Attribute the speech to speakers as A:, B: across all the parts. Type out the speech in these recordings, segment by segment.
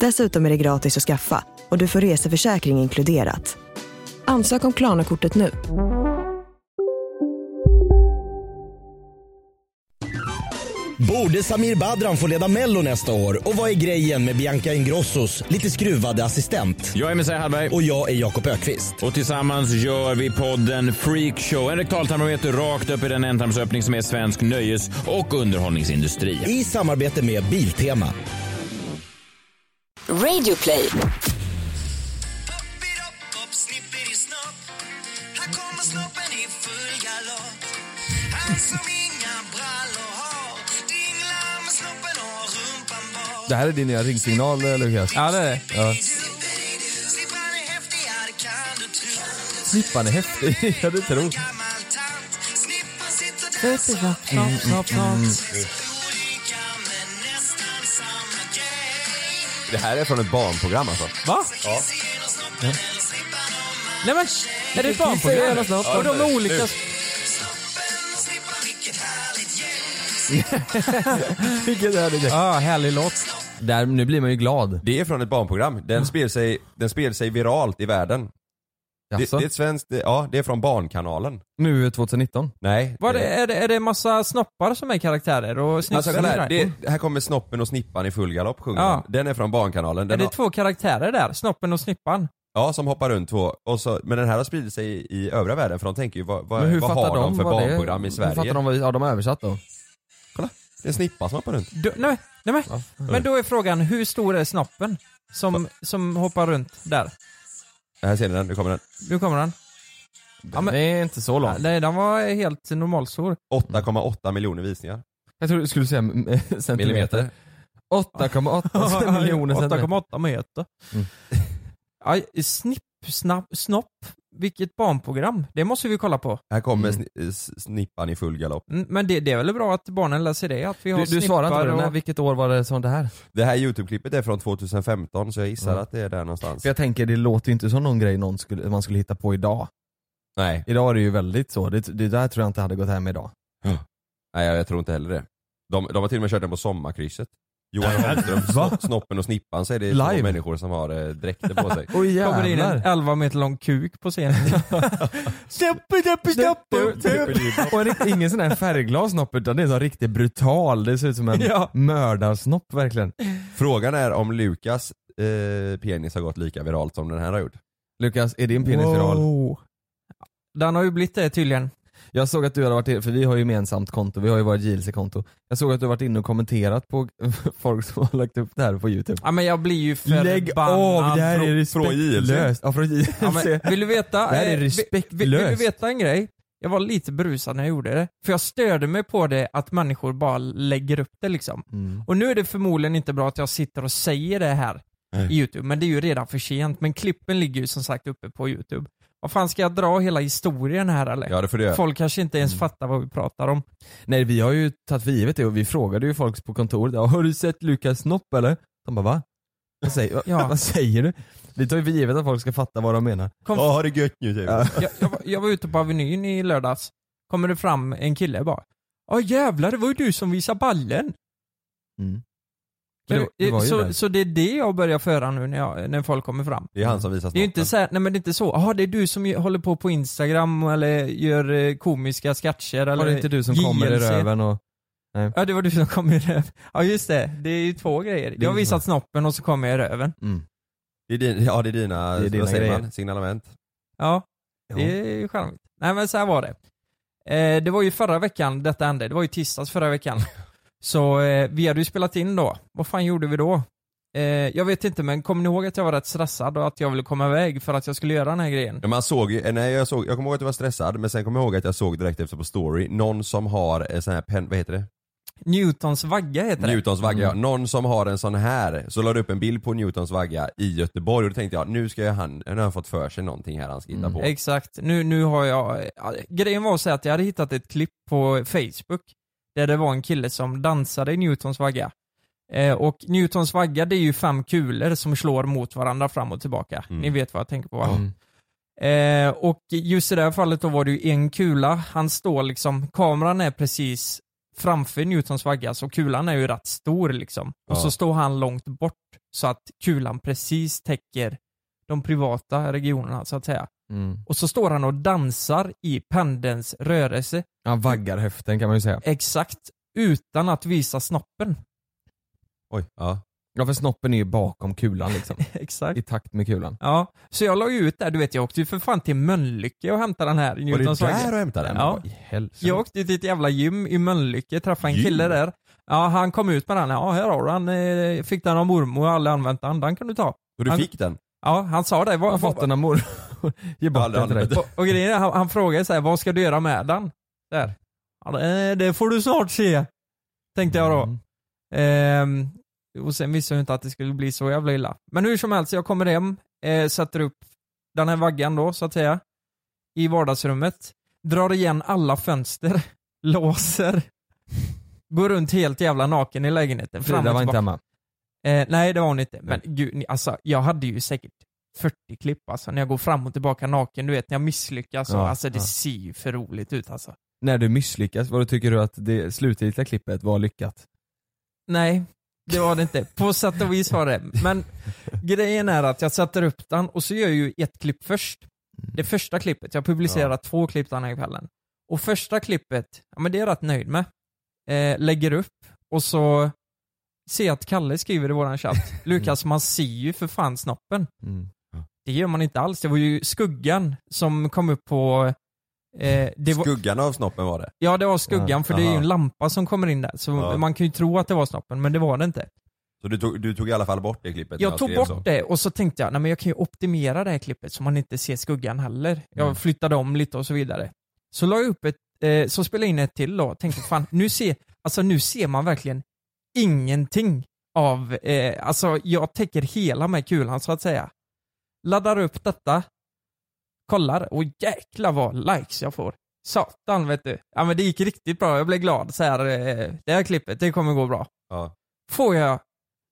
A: Dessutom är det gratis att skaffa och du får reseförsäkring inkluderat. Ansök om Klarna-kortet nu.
B: Borde Samir Badran få leda Mello nästa år? Och vad är grejen med Bianca Ingrossos lite skruvade assistent?
C: Jag är Messiah Hallberg
B: Och jag är Jakob Ökvist.
C: och tillsammans gör vi podden Freakshow. En rektaltarmometer rakt upp i den ändtarmsöppning som är svensk nöjes och underhållningsindustri.
B: I samarbete med Biltema.
D: Radioplay.
E: Det här är din nya ringsignal eh, Lukas.
F: Ja det är det.
E: Ja. Snippan är häftig, ja det tror Det här är från ett barnprogram alltså.
F: Va? Ja. Nej men sh- är det ett barnprogram? Och de är olika...
E: Vilken härlig grej.
F: Ja, härlig låt. Där, nu blir man ju glad.
G: Det är från ett barnprogram. Den spelar sig, den spelar sig viralt i världen. Det, det
F: Jaså?
G: är ett svenskt, det- ja det är från Barnkanalen.
E: Nu 2019.
G: Nej.
F: Vad är,
G: eh,
F: det- är det, är det massa snoppar som är karaktärer och
G: Alltså,
F: snipsen
G: kolla
F: är
G: här,
F: draken?
E: Mm.
G: det, här kommer Snoppen och Snippan i full galopp sjunger
F: Ja.
G: han. Den är från Barnkanalen.
F: Är
G: Den
F: det
G: har,
F: två karaktärer där? Snoppen och snippan?
G: Ja, som hoppar runt två. Och så, men den här har spridit sig i, i övriga världen för de tänker ju vad,
E: Men
G: vad,
E: hur
G: vad
E: fattar
G: har de
E: de
G: för
E: vad det är?
G: barnprogram i
E: Hur
G: Sverige? Mm.
E: fattar de vad, ja de har översatt då?
G: Det är en snippa som hoppar runt.
F: Du, nej, nej, nej. Men då är frågan, hur stor är snoppen? Som, som hoppar runt där.
G: Här ser ni den, nu kommer den.
F: Nu kommer den. Ja, men-
E: Det är inte så långt.
F: Nej, den var helt normalstor.
G: 8,8 miljoner visningar.
E: Jag trodde du skulle säga mm, eh, centimeter. 8,8 miljoner centimeter.
F: 8,8 meter.
E: Mm.
F: Ja, snipp, snapp, snopp. Vilket barnprogram. Det måste vi kolla på.
G: Här kommer
E: Mm.
G: sni- s- snippan i full galopp.
F: Mm, Men det, det är väl bra att barnen läser det? Att vi har
E: Du, du svarar inte på
F: snippar
E: det,
F: och-
E: men vilket år var det som det här?
G: Det här youtube-klippet är från 2015 så jag gissar
E: Mm.
G: att det är där någonstans.
E: För jag tänker det låter ju inte som någon grej någon skulle, man skulle hitta på idag.
G: Nej.
E: Idag är det ju väldigt så, det, det där tror jag inte hade gått hem idag.
G: Nej, jag, jag tror inte heller det. De, de har till och med kört den på sommarkrysset. Johan Holmström, Sno- Snoppen och Snippan så är det två
E: Live.
G: människor som har eh, dräkter på sig.
E: Oj
F: kommer in en 11 meter lång kuk på scenen.
E: Stoppa, stoppa, Och en rikt- ingen sån här färgglad snopp utan det är en sån riktigt brutal, det ser ut som en
F: Ja.
E: mördarsnopp verkligen.
G: Frågan är om Lukas eh, penis har gått lika viralt som den här har gjort.
E: Lukas, är din penis viral?
F: Wow. Den har ju blivit det tydligen.
E: Jag såg att du hade varit inne, för vi har ju gemensamt konto, vi har ju vårt JLC-konto. Jag såg att du har varit inne och kommenterat på folk som har lagt upp det här på youtube.
F: Ja men jag blir ju förbannad.
E: Lägg av, det här är
G: från JLC.
E: respektlöst. Ja, från JLC.
F: Ja, men, vill du veta?
E: Det här är
F: eh, vi- Vill, vill du
E: respektlöst.
F: veta en grej? Jag var lite brusad när jag gjorde det. För jag störde mig på det att människor bara lägger upp det liksom.
E: Mm.
F: Och nu är det förmodligen inte bra att jag sitter och säger det här
E: Mm.
F: i YouTube, men det är ju redan för sent. Men klippen ligger ju som sagt uppe på YouTube. Vad fan, ska jag dra hela historien här eller?
G: Ja det får du göra.
F: Folk kanske inte ens fattar vad vi pratar om.
E: Mm. Nej vi har ju tagit för givet det och vi frågade ju folk på kontoret "Ja, Har du sett Lukas snopp eller? De bara va? Vad säger,
F: Ja.
E: vad säger du? Vi tar ju för givet att folk ska fatta vad de menar.
F: Kom,
G: Ja, ha det gött nu typ.
E: Ja.
F: jag, jag, var- jag var ute på Avenyn i lördags. Kommer det fram en kille bara. Ja jävlar, det var ju du som visade ballen.
E: Mm. Men det,
F: Eh,
E: det var ju
F: så,
E: det.
F: så det är det jag börjar föra nu när, jag, när folk kommer fram.
G: Det är han som visar
F: Det är ju inte
G: snoppen.
F: så här, nej men det är inte så, jaha det är du som ju- håller på på Instagram eller gör eh, komiska sketcher eller
E: Var det inte du som
F: JLC?
E: kommer i röven och...
F: Ja det var du som kom i röven. Ja just det, det är ju två grejer. Jag har
E: ju Mm.
F: visat snoppen och så kom jag i röven.
G: Det är din, ja det är dina,
E: Det är dina
G: vad säger man?
E: grejer.
G: Signalement.
F: Ja, det är ju charmigt. Nej men så här var det. Eh, det var ju förra veckan detta hände, det var ju tisdags förra veckan. Så eh, vi hade ju spelat in då. Vad fan gjorde vi då? Eh, jag vet inte men kommer ni ihåg att jag var rätt stressad och att jag ville komma iväg för att jag skulle göra den här grejen?
G: Ja, man såg ju, eh, nej, jag, såg, jag kommer ihåg att jag var stressad men sen kommer jag ihåg att jag såg direkt efter på story, någon som har en sån här pen, vad heter det?
F: Newtons vagga heter det.
G: Newtons vagga,
E: Mm.
G: ja. någon som har en sån här. Så la du upp en bild på Newtons vagga i Göteborg och då tänkte jag nu ska jag, han, nu har han fått för sig någonting här han ska
E: Mm.
G: hitta på.
F: Exakt, nu, nu har jag... ja, Grejen var så här att jag hade hittat ett klipp på Facebook där det var en kille som dansade i Newtons vagga. Eh, och Newtons vagga det är ju fem kulor som slår mot varandra fram och tillbaka.
G: Mm.
F: Ni vet vad jag tänker på va? Eh, och just i det här fallet då var det ju en kula, han står liksom, kameran är precis framför Newtons vagga så kulan är ju rätt stor liksom. Och
G: Ja.
F: så står han långt bort så att kulan precis täcker de privata regionerna så att säga.
E: Mm.
F: Och så står han och dansar i pendelns rörelse
E: Han vaggar höften kan man ju säga.
F: exakt utan att visa snoppen.
G: Oj, ja.
E: Ja för snoppen är ju bakom kulan liksom.
F: Exakt.
E: I takt med kulan.
F: Ja, så jag la ju ut där, du vet jag åkte ju för fan till Mölnlycke och hämtade den här i
G: Var det
F: Newtons
G: där
F: vagga.
G: du hämtade den?
F: Ja.
E: I helsike.
F: Jag åkte till ett jävla gym i Mölnlycke, träffade en
G: Gym?
F: kille där. Ja, han kom ut med den. Ja, här har du den. Eh, Fick den av mormor, aldrig använt den. Den kan du ta.
G: Och du
F: Han-
G: fick den?
F: Ja, han sa det.
E: Jag
F: Vad,
E: har fått den av mor. Ge bort
G: Aldrig
E: den till dig.
G: använt.
F: Och grejen är, han, han frågade så här, vad ska du göra med den? Där. Ja, det- det får du snart se. Tänkte jag då.
E: Mm.
F: Ehm, och sen visste jag ju inte att det skulle bli så jävla illa. Men hur som helst, jag kommer hem, eh, sätter upp den här vaggan då så att säga. I vardagsrummet. Drar igen alla fönster. Låser. Går runt helt jävla naken i lägenheten. fram och
E: Frida var inte
F: tillbaka.
E: hemma.
F: Eh, nej, det var hon inte. Men gud, ni, alltså, jag hade ju säkert 40 klipp alltså, när jag går fram och tillbaka naken. Du vet, när jag misslyckas. och
E: Ja,
F: alltså, det
E: ja.
F: ser ju för roligt ut alltså.
E: När du misslyckas, vad tycker du att det slutgiltiga klippet var lyckat?
F: Nej, det var det inte. På sätt och vis var det. Men grejen är att jag sätter upp den och så gör jag ju ett klipp först. Det
E: Mm.
F: första klippet. Jag publicerar två klipp den här kvällen. Och första klippet, ja men det är jag rätt nöjd med. Eh, lägger upp och så ser jag att Kalle skriver i våran chatt. Lukas, man ser ju för fan snoppen.
E: Mm.
F: Det gör man inte alls. Det var ju skuggan som kom upp på... Eh, det var,
G: Skuggan av snoppen var det.
F: ja, det var skuggan för det är ju en
G: Aha.
F: lampa som kommer in där. Så
G: Ja.
F: man kan ju tro att det var snoppen, men det var det inte.
G: Så du tog, du tog i alla fall bort det klippet? när
F: Jag tog
G: skrev så.
F: bort det och så tänkte jag, nej men jag kan ju optimera det här klippet så man inte ser skuggan heller.
G: Mm.
F: Jag flyttade om lite och så vidare. Så la jag upp ett, eh, så spelade jag in ett till då. Tänkte fan, nu ser, alltså nu ser man verkligen ingenting av, eh, alltså jag täcker hela med kulan så att säga. Laddar upp detta, kollar och jäkla vad likes jag får. Satan vet du. Ja men det gick riktigt bra, jag blev glad så här, eh, det här klippet, det kommer gå bra
G: Ja.
F: får jag,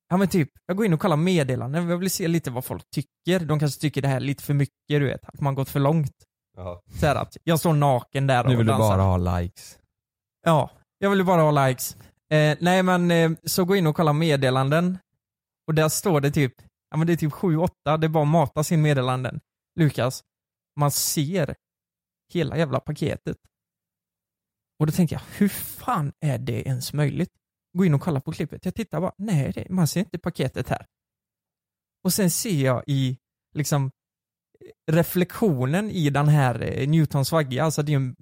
F: ja men typ, jag går in och kollar meddelanden, jag vill se lite vad folk tycker. De kanske tycker det här är lite för mycket, du vet, att man gått för långt.
G: Ja.
F: Så här att jag står naken där och
E: Nu vill du
F: dansar.
E: bara ha likes.
F: Ja, jag ville bara ha likes. Eh, nej men, eh, så går jag in och kollar meddelanden och där står det typ, ja men det är typ 7-8, det är bara att mata sin meddelanden. Lukas, man ser hela jävla paketet. Och då tänker jag, hur fan är det ens möjligt? Gå in och kolla på klippet. Jag tittar bara, nej det, man ser inte paketet här. Och sen ser jag i, liksom, reflektionen i den här eh, Newtons vagga, alltså det är en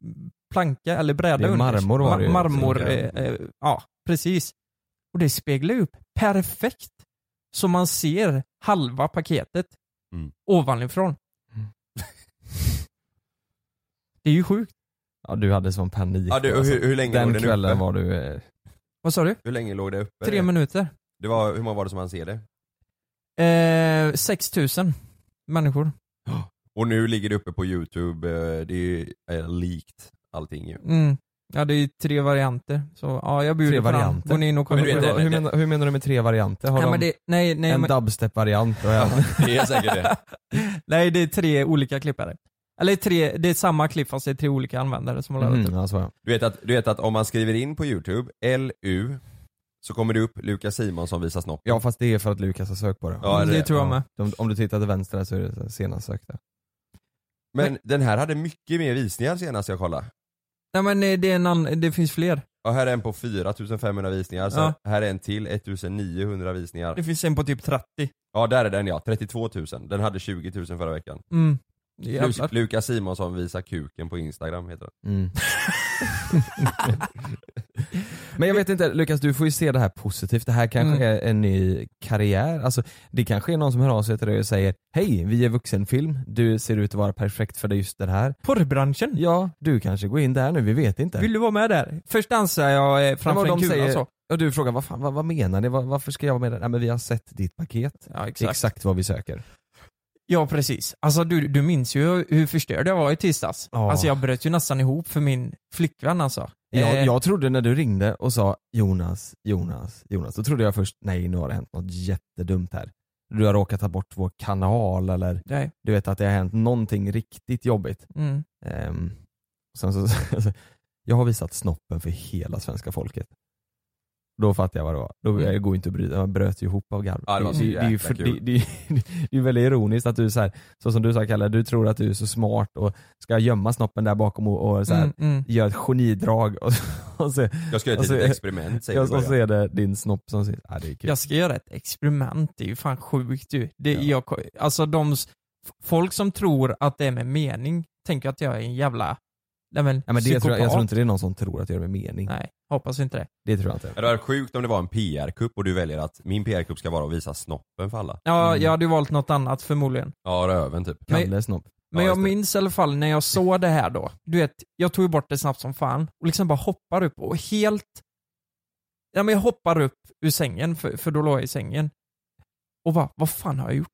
F: planka eller bräda
E: Det är marmor var det ju.
F: marmor, eh, eh, ja precis. Och det speglar upp perfekt. Så man ser halva paketet
G: Mm.
F: ovanifrån.
E: Mm.
F: det är ju sjukt.
E: Ja du hade sån panik.
G: Ja, du, och
E: alltså.
G: hur, hur länge
E: Den
G: låg den uppe?
E: kvällen var du... Eh,
F: Vad sa du?
G: Hur länge låg det uppe?
F: Tre minuter.
G: Det var, hur många var det som han ser det?
F: Eh, 6000 människor.
G: Och nu ligger det uppe på youtube, eh, det är ju eh, likt allting ju.
F: Mm. Ja det är ju tre varianter. Så ja, jag bjuder
E: Tre
F: på den.
E: varianter?
F: Går ni in och kollar
G: Men du
F: på
G: vet,
F: det?
E: hur, menar, hur menar du med tre varianter? eh, Har
F: Nej
E: de
F: men det, nej, nej,
E: en
F: men,
E: dubstep-variant och en...
G: Det är säkert det.
F: nej det är tre olika klippare. Eller tre, det är samma klipp fast det är tre olika användare som har laddat
E: Mm,
F: upp.
E: ja, så ja.
G: Du vet, att, du vet att om man skriver in på youtube, LU, så kommer det upp Lukas Simonsson visar snopp.
E: ja fast det är för att Lukas har sökt på det.
G: Ja,
F: det,
G: det-
F: tror jag med.
E: De, om du tittar till vänster där så är det senast sökta.
G: Men den här hade mycket mer visningar senast jag kollade.
F: Nej men eh, det, är en ann- det finns fler.
G: Och här är en på 4500 visningar, sen här är en till 1900 visningar.
F: Det finns en på typ 30.
G: Ja där är den ja, 32 000. Den hade 20 000 förra veckan.
F: Mm. Jävlar.
G: Lus- Lukas Simonsson visar kuken på Instagram heter det.
E: Mm. Men jag vet inte, Lukas du får ju se det här positivt. Det här kanske
F: Mm.
E: är en ny karriär. Alltså, det kanske är någon som hör av sig till dig och säger Hej, vi är vuxenfilm. Du ser ut att vara perfekt för dig just det här.
F: Porrbranschen?
E: Ja, du kanske går in där nu, vi vet inte.
F: Mm. Vill du vara med där? Först dansar jag eh, framför
E: Nej, men
F: en
E: de
F: kula
E: säger-
F: så.
E: Och du frågar vad, fan, vad, vad menar ni? Vad- varför ska jag vara med där? Nej men vi har sett ditt paket.
F: Ja,
E: Det är
F: exakt.
E: exakt vad vi söker.
F: Ja, precis. Alltså du, du minns ju hur förstörd jag var i tisdags.
E: Ja.
F: Alltså jag bröt ju nästan ihop för min flickvän alltså.
E: Jag,
F: Eh,
E: jag trodde när du ringde och sa Jonas, Jonas, Jonas, då trodde jag först nej nu har det hänt något jättedumt här. Du har råkat ta bort vår kanal eller
F: Nej.
E: du vet att det har hänt någonting riktigt jobbigt.
F: Mm.
E: Ehm, sen så, jag har visat snoppen för hela svenska folket. Då fattar jag vad det var. Då
F: Mm.
E: jag går inte att bryta, jag bröt ju ihop av garv.
G: Ja, det var så
E: det, är ju
G: jäkla
E: det,
G: kul.
E: det, det är ju väldigt ironiskt att du så, här, så som du sa Kalle, du tror att du är så smart och ska gömma snoppen där bakom och, och så här,
F: Mm, mm.
E: gör ett genidrag och, och, så,
G: Jag ska göra ett
E: Alltså,
G: litet experiment säger
E: och
G: du i
E: så
G: början.
E: är det din snopp som sitter. Ja, det är kul.
F: Jag ska göra ett experiment, det är ju fan sjukt ju. Det,
E: Ja.
F: jag, alltså de, s- folk som tror att det är med mening tänker att jag är en jävla, nej men,
E: ja, men det tror jag, jag
F: psykopat.
E: tror inte det är någon som tror att det gör med mening.
F: Nej, hoppas inte det.
E: Det tror jag inte.
G: Men Det var sjukt om det var en PR-kupp och du väljer att min PR-kupp ska vara att visa snoppen för alla.
F: Ja,
E: Mm.
F: jag hade ju valt något annat förmodligen.
G: Ja, röven typ.
F: Men-
E: Kalle snopp.
F: Men
G: Ja,
F: jag
G: just det.
F: minns i alla fall när jag såg det här då. Du vet, jag tog ju bort det snabbt som fan och liksom bara hoppar upp och helt... Ja men jag hoppar upp ur sängen, för, för då låg jag i sängen. Och bara, vad fan har jag gjort?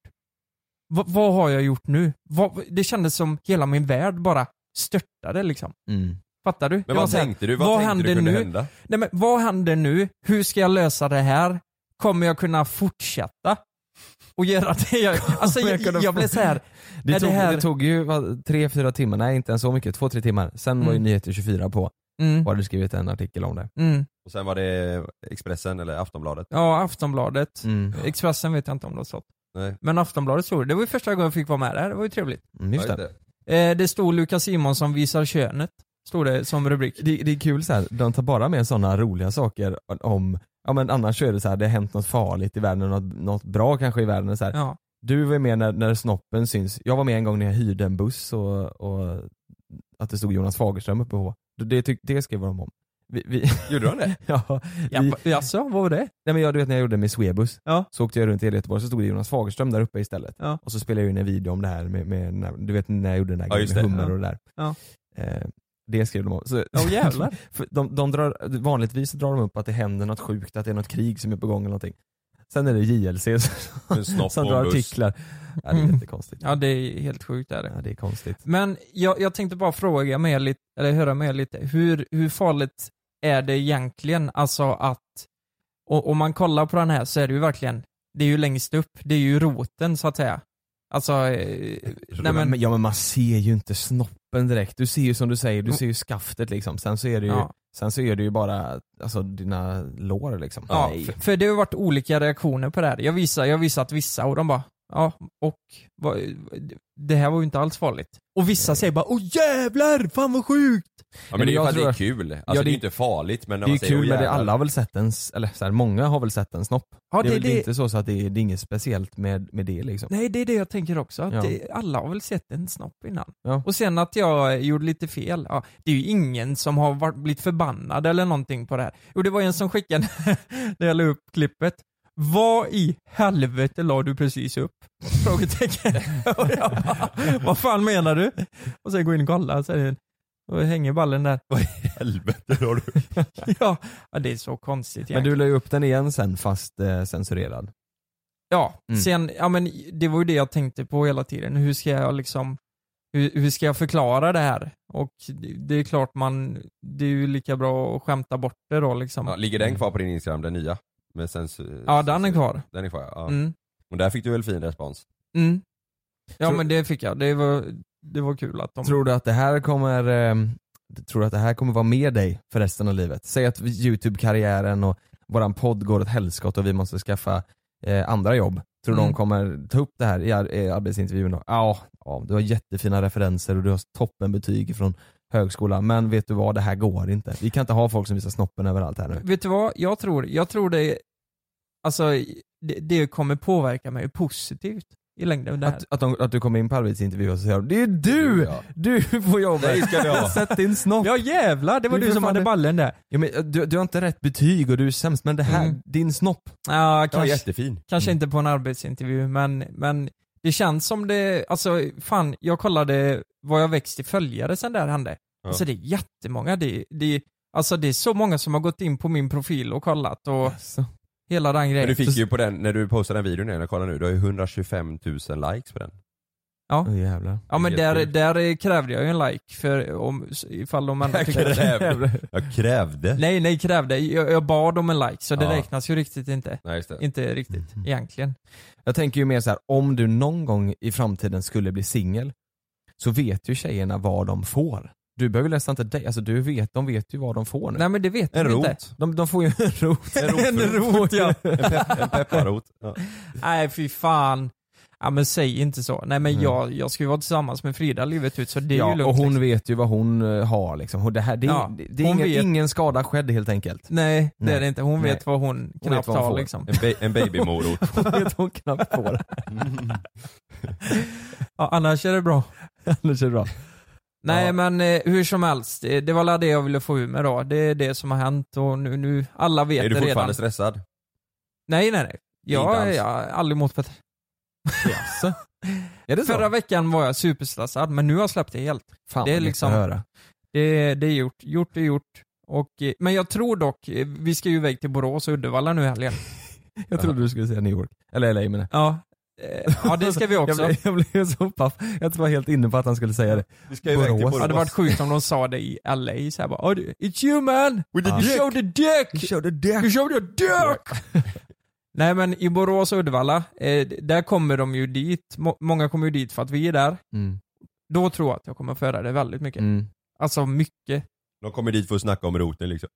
F: Va, vad har jag gjort nu? Vad, det kändes som hela min värld bara störtade liksom.
E: Mm.
F: Fattar du? Det
G: Men
F: var
G: vad
F: så här,
G: tänkte du? Vad,
F: vad
G: tänkte
F: händer
G: du kunde
F: nu?
G: hända?
F: Nej men vad händer nu? Hur ska jag lösa det här? Kommer jag kunna fortsätta? Och göra det jag... Alltså
E: Kommer jag
F: jag,
E: kunna
F: jag, blev så här.
E: Det,
F: Är det
E: tog, det,
F: här-
E: tog ju vad, tre, fyra timmar, nej inte ens så mycket, två, tre timmar. Sen var ju
F: Mm.
E: Nyheter 24 på
F: Mm,
E: och hade skrivit en artikel om det.
F: mm.
G: Och sen var det Expressen eller Aftonbladet.
F: Ja, Aftonbladet.
E: Mm.
F: Expressen vet jag inte om det har stått.
G: Nej.
F: Men Aftonbladet stod det. Det var ju första gången jag fick vara med där. Det var ju trevligt.
E: Mm, just
G: Ja,
E: det.
F: Eh, det stod Lukas Simonsson visar könet. Stod det som rubrik.
E: Det, det är kul så här, de tar bara med sådana roliga saker om, ja men annars så är det så här, det har hänt något farligt i världen, något, något bra kanske i världen. Så här.
F: Ja.
E: Du var med när, när snoppen syns, jag var med en gång när jag hyrde en buss och, och att det stod Jonas Fagerström uppe på. Det, tyck, det skrev de om. Vi, vi,
G: Gjorde han det?
E: ja,
F: Ja,
E: vi,
F: va- Jaså, vad var det?
E: Nej men jag, du vet när jag gjorde med Swebus,
F: Ja.
E: så åkte jag runt i hela Göteborg, så stod det Jonas Fagerström där uppe istället.
F: Ja.
E: Och så spelade jag in en video om det här med, med när, du vet när jag gjorde den där
G: Ja,
E: grejen
G: just
E: med
G: det.
E: hummer
F: Ja.
E: och det där.
F: Ja.
E: Eh, det skrev de om. Så,
F: Åh jävlar.
E: för de, de drar, vanligtvis drar de upp att det händer något sjukt, att det är något krig som är på gång eller någonting. Sen är det JLC som,
G: En snopp
E: som
G: på
E: drar
G: en buss.
E: artiklar. Ja, det är
F: Mm.
E: jättekonstigt.
F: Ja, det är helt sjukt är det.
E: Ja, det är konstigt.
F: Men jag, jag tänkte bara fråga med er lite, eller höra med er lite, hur, hur farligt är det egentligen? Alltså att, och, om man kollar på den här så är det ju verkligen, det är ju längst upp, det är ju roten så att säga. Alltså, eh, nej men,
E: ja men man ser ju inte snoppen direkt. Du ser ju som du säger,
G: Mm.
E: du ser ju skaftet liksom. Sen så är det ju,
F: Ja.
E: sen så är det ju bara alltså, dina lår liksom.
F: Ja,
E: Nej.
F: för, för det har ju varit olika reaktioner på det här. Jag visar, jag visar att vissa och de bara Ja, och vad, det här var ju inte alls farligt. Och vissa säger bara Åh jävlar, fan vad sjukt!
G: Ja,
E: men
G: men det är ju
E: jag
G: för att det
E: tror
G: är
E: att-
G: kul. Alltså
E: Ja,
G: det är
E: det-
G: ju inte farligt men när
E: Det är
G: man
E: ju
G: säger
E: kul
G: "Åh,
E: med det,
G: jävlar."
E: alla har väl sett en, s- eller så här, många har väl sett en snopp.
F: Ja,
E: det, är
F: det,
E: väl
F: det,
E: inte så, så att det är, det är inget speciellt med, med det liksom.
F: Nej, det är det jag tänker också. Att
E: Ja.
F: det, alla har väl sett en snopp innan.
E: Ja.
F: Och sen att jag eh, gjorde lite fel. Ja, det är ju ingen som har varit, blivit förbannad eller någonting på det här. Jo, det var en som skickade när jag la upp klippet. Vad i helvete la du precis upp? Frågetecken. Och jag bara, Vad fan menar du? Och sen går jag in och kollar så är det en, och hänger ballen där.
G: Helvete har du.
F: Ja, ja, det är så konstigt
E: Men
F: egentligen.
E: du la ju upp den igen sen fast eh, censurerad.
F: Ja,
E: Mm.
F: sen, ja men det var ju det jag tänkte på hela tiden. Hur ska jag liksom, hur, hur ska jag förklara det här? Och det, det är klart man, det är ju lika bra att skämta bort det då liksom.
G: Ja,
F: Ja,
G: ligger
E: Mm.
G: den kvar på din Instagram, den nya? Med censur,
F: den är
G: censur-
F: kvar.
G: Den är kvar ja. ja.
F: Mm.
G: Och där fick du väl fin respons?
F: Mm. Ja
E: Tror-
F: men det fick jag, det var, det var kul att de...
E: Tror du att det här kommer, ehm, tror du att det här kommer vara med dig för resten av livet? Säg att vi- YouTube-karriären och våran podd går åt helskott och vi måste skaffa eh, andra jobb. Tror du
F: Mm.
E: de kommer ta upp det här i ar- i arbetsintervjun då? Ja, ja, du har jättefina referenser och du har toppenbetyg från högskolan men vet du vad, det här går inte. Vi kan inte ha folk som visar snoppen överallt här nu.
F: Vet du vad, jag tror, jag tror det, alltså det, det kommer påverka mig positivt. i längden. Det här.
E: Att, att, de, att du kommer in på arbetsintervju och så säger de, det är du!
F: ja.
E: Du får jobbet!
F: Nej, ska du ha.
E: Sätt din snopp!
F: Ja jävlar, det var du,
E: för
F: som
E: fan
F: hade
E: det-
F: ballen där.
E: Ja, men, du, du har inte rätt betyg och du är sämst men det här,
F: Mm.
E: din snopp.
F: Ja,
G: Ja,
F: kanske,
G: jättefin. Mm.
F: kanske
E: Mm.
F: inte på en arbetsintervju, men, men det känns som det, alltså fan, jag kollade vad jag växt i följare sen där hände.
G: Ja.
F: Alltså det är jättemånga, det, det, alltså det är så många som har gått in på min profil och kollat och hela den grejen.
G: Men du fick
F: Så-
G: ju på den, när du postade den videon igen, jag kollar nu, du har ju 125 000 likes på den.
F: Ja.
E: Åh, jävlar.
F: Ja men
G: Helt
F: där,
G: sjukt.
F: där krävde jag ju en like för om, ifall de ändå
G: Jag
F: tyckte
G: krävde. Jag krävde.
F: Nej nej krävde, jag, jag bad om en like så det
G: Ja.
F: räknas ju riktigt inte.
G: Nej, just det.
F: Inte riktigt
E: Mm.
F: egentligen.
E: Jag tänker ju mer så här, om du någon gång i framtiden skulle bli singel så vet ju tjejerna vad de får. Du behöver nästan inte dig, alltså du vet, de vet ju vad de får nu.
F: Nej men det vet
G: En
F: de
G: rot.
F: inte.
E: De, de får ju en rot.
G: En rot,
F: En rot ja.
G: En pepparrot. Ja.
F: Nej fy fan. Ja men säg inte så. Nej men jag, jag ska ju vara tillsammans med Frida livet ut så det är
E: Mm. ja,
F: ju lugnt.
E: och hon
F: liksom.
E: vet ju vad hon eh, har liksom. Och det, här, det, är-
F: Ja,
E: det, det är
F: hon
E: ingen,
F: vet.
E: ingen skada skedd helt enkelt.
F: Nej det
E: Nej.
F: är det inte. Hon
E: Nej.
F: vet vad hon knappt
E: vad hon
F: har
E: får.
F: liksom.
G: En, ba- en babymorot.
E: Hon vet hon knappt får.
F: Ja, annars är det bra.
E: Annars är det bra.
F: Nej
E: Ja.
F: men eh, hur som helst, det, det var alla det jag ville få ur mig då. Det är det som har hänt och nu, nu alla vet
G: Är
F: det
G: du fortfarande
F: redan.
G: stressad?
F: Nej nej nej.
G: Inte
F: Jag,
G: alls.
F: jag har aldrig mått bättre.
E: Jaså? Är det så?
F: Förra veckan var jag superstressad men nu har jag släppt det helt.
E: Fan
F: det är
E: vad gött
F: liksom-
E: att höra.
F: Det, det är gjort, gjort är gjort. Och, eh, men jag tror dock, eh, vi ska ju iväg till Borås och Uddevalla nu i helgen.
E: Jag trodde du skulle säga New York. Eller LA menar jag.
F: Ja, eh, ja det ska vi också.
E: Jag blev, jag blev så paff. Jag tror jag var helt inne på att han skulle säga det.
G: Vi ska iväg till
E: Borås.
G: Borås.
F: Det hade varit sjukt om de sa det i LA såhär bara "Oh, It's you man!
G: With the
F: You
G: dick."
F: showed the dick!
E: körde det.
F: You showed your dick! Nej men i Borås och Uddevalla, eh, där kommer de ju dit. Må- många kommer ju dit för att vi är där.
E: Mm.
F: Då tror jag att jag kommer föra det väldigt mycket.
E: Mm.
F: Alltså mycket.
G: De kommer dit för att snacka om roten liksom.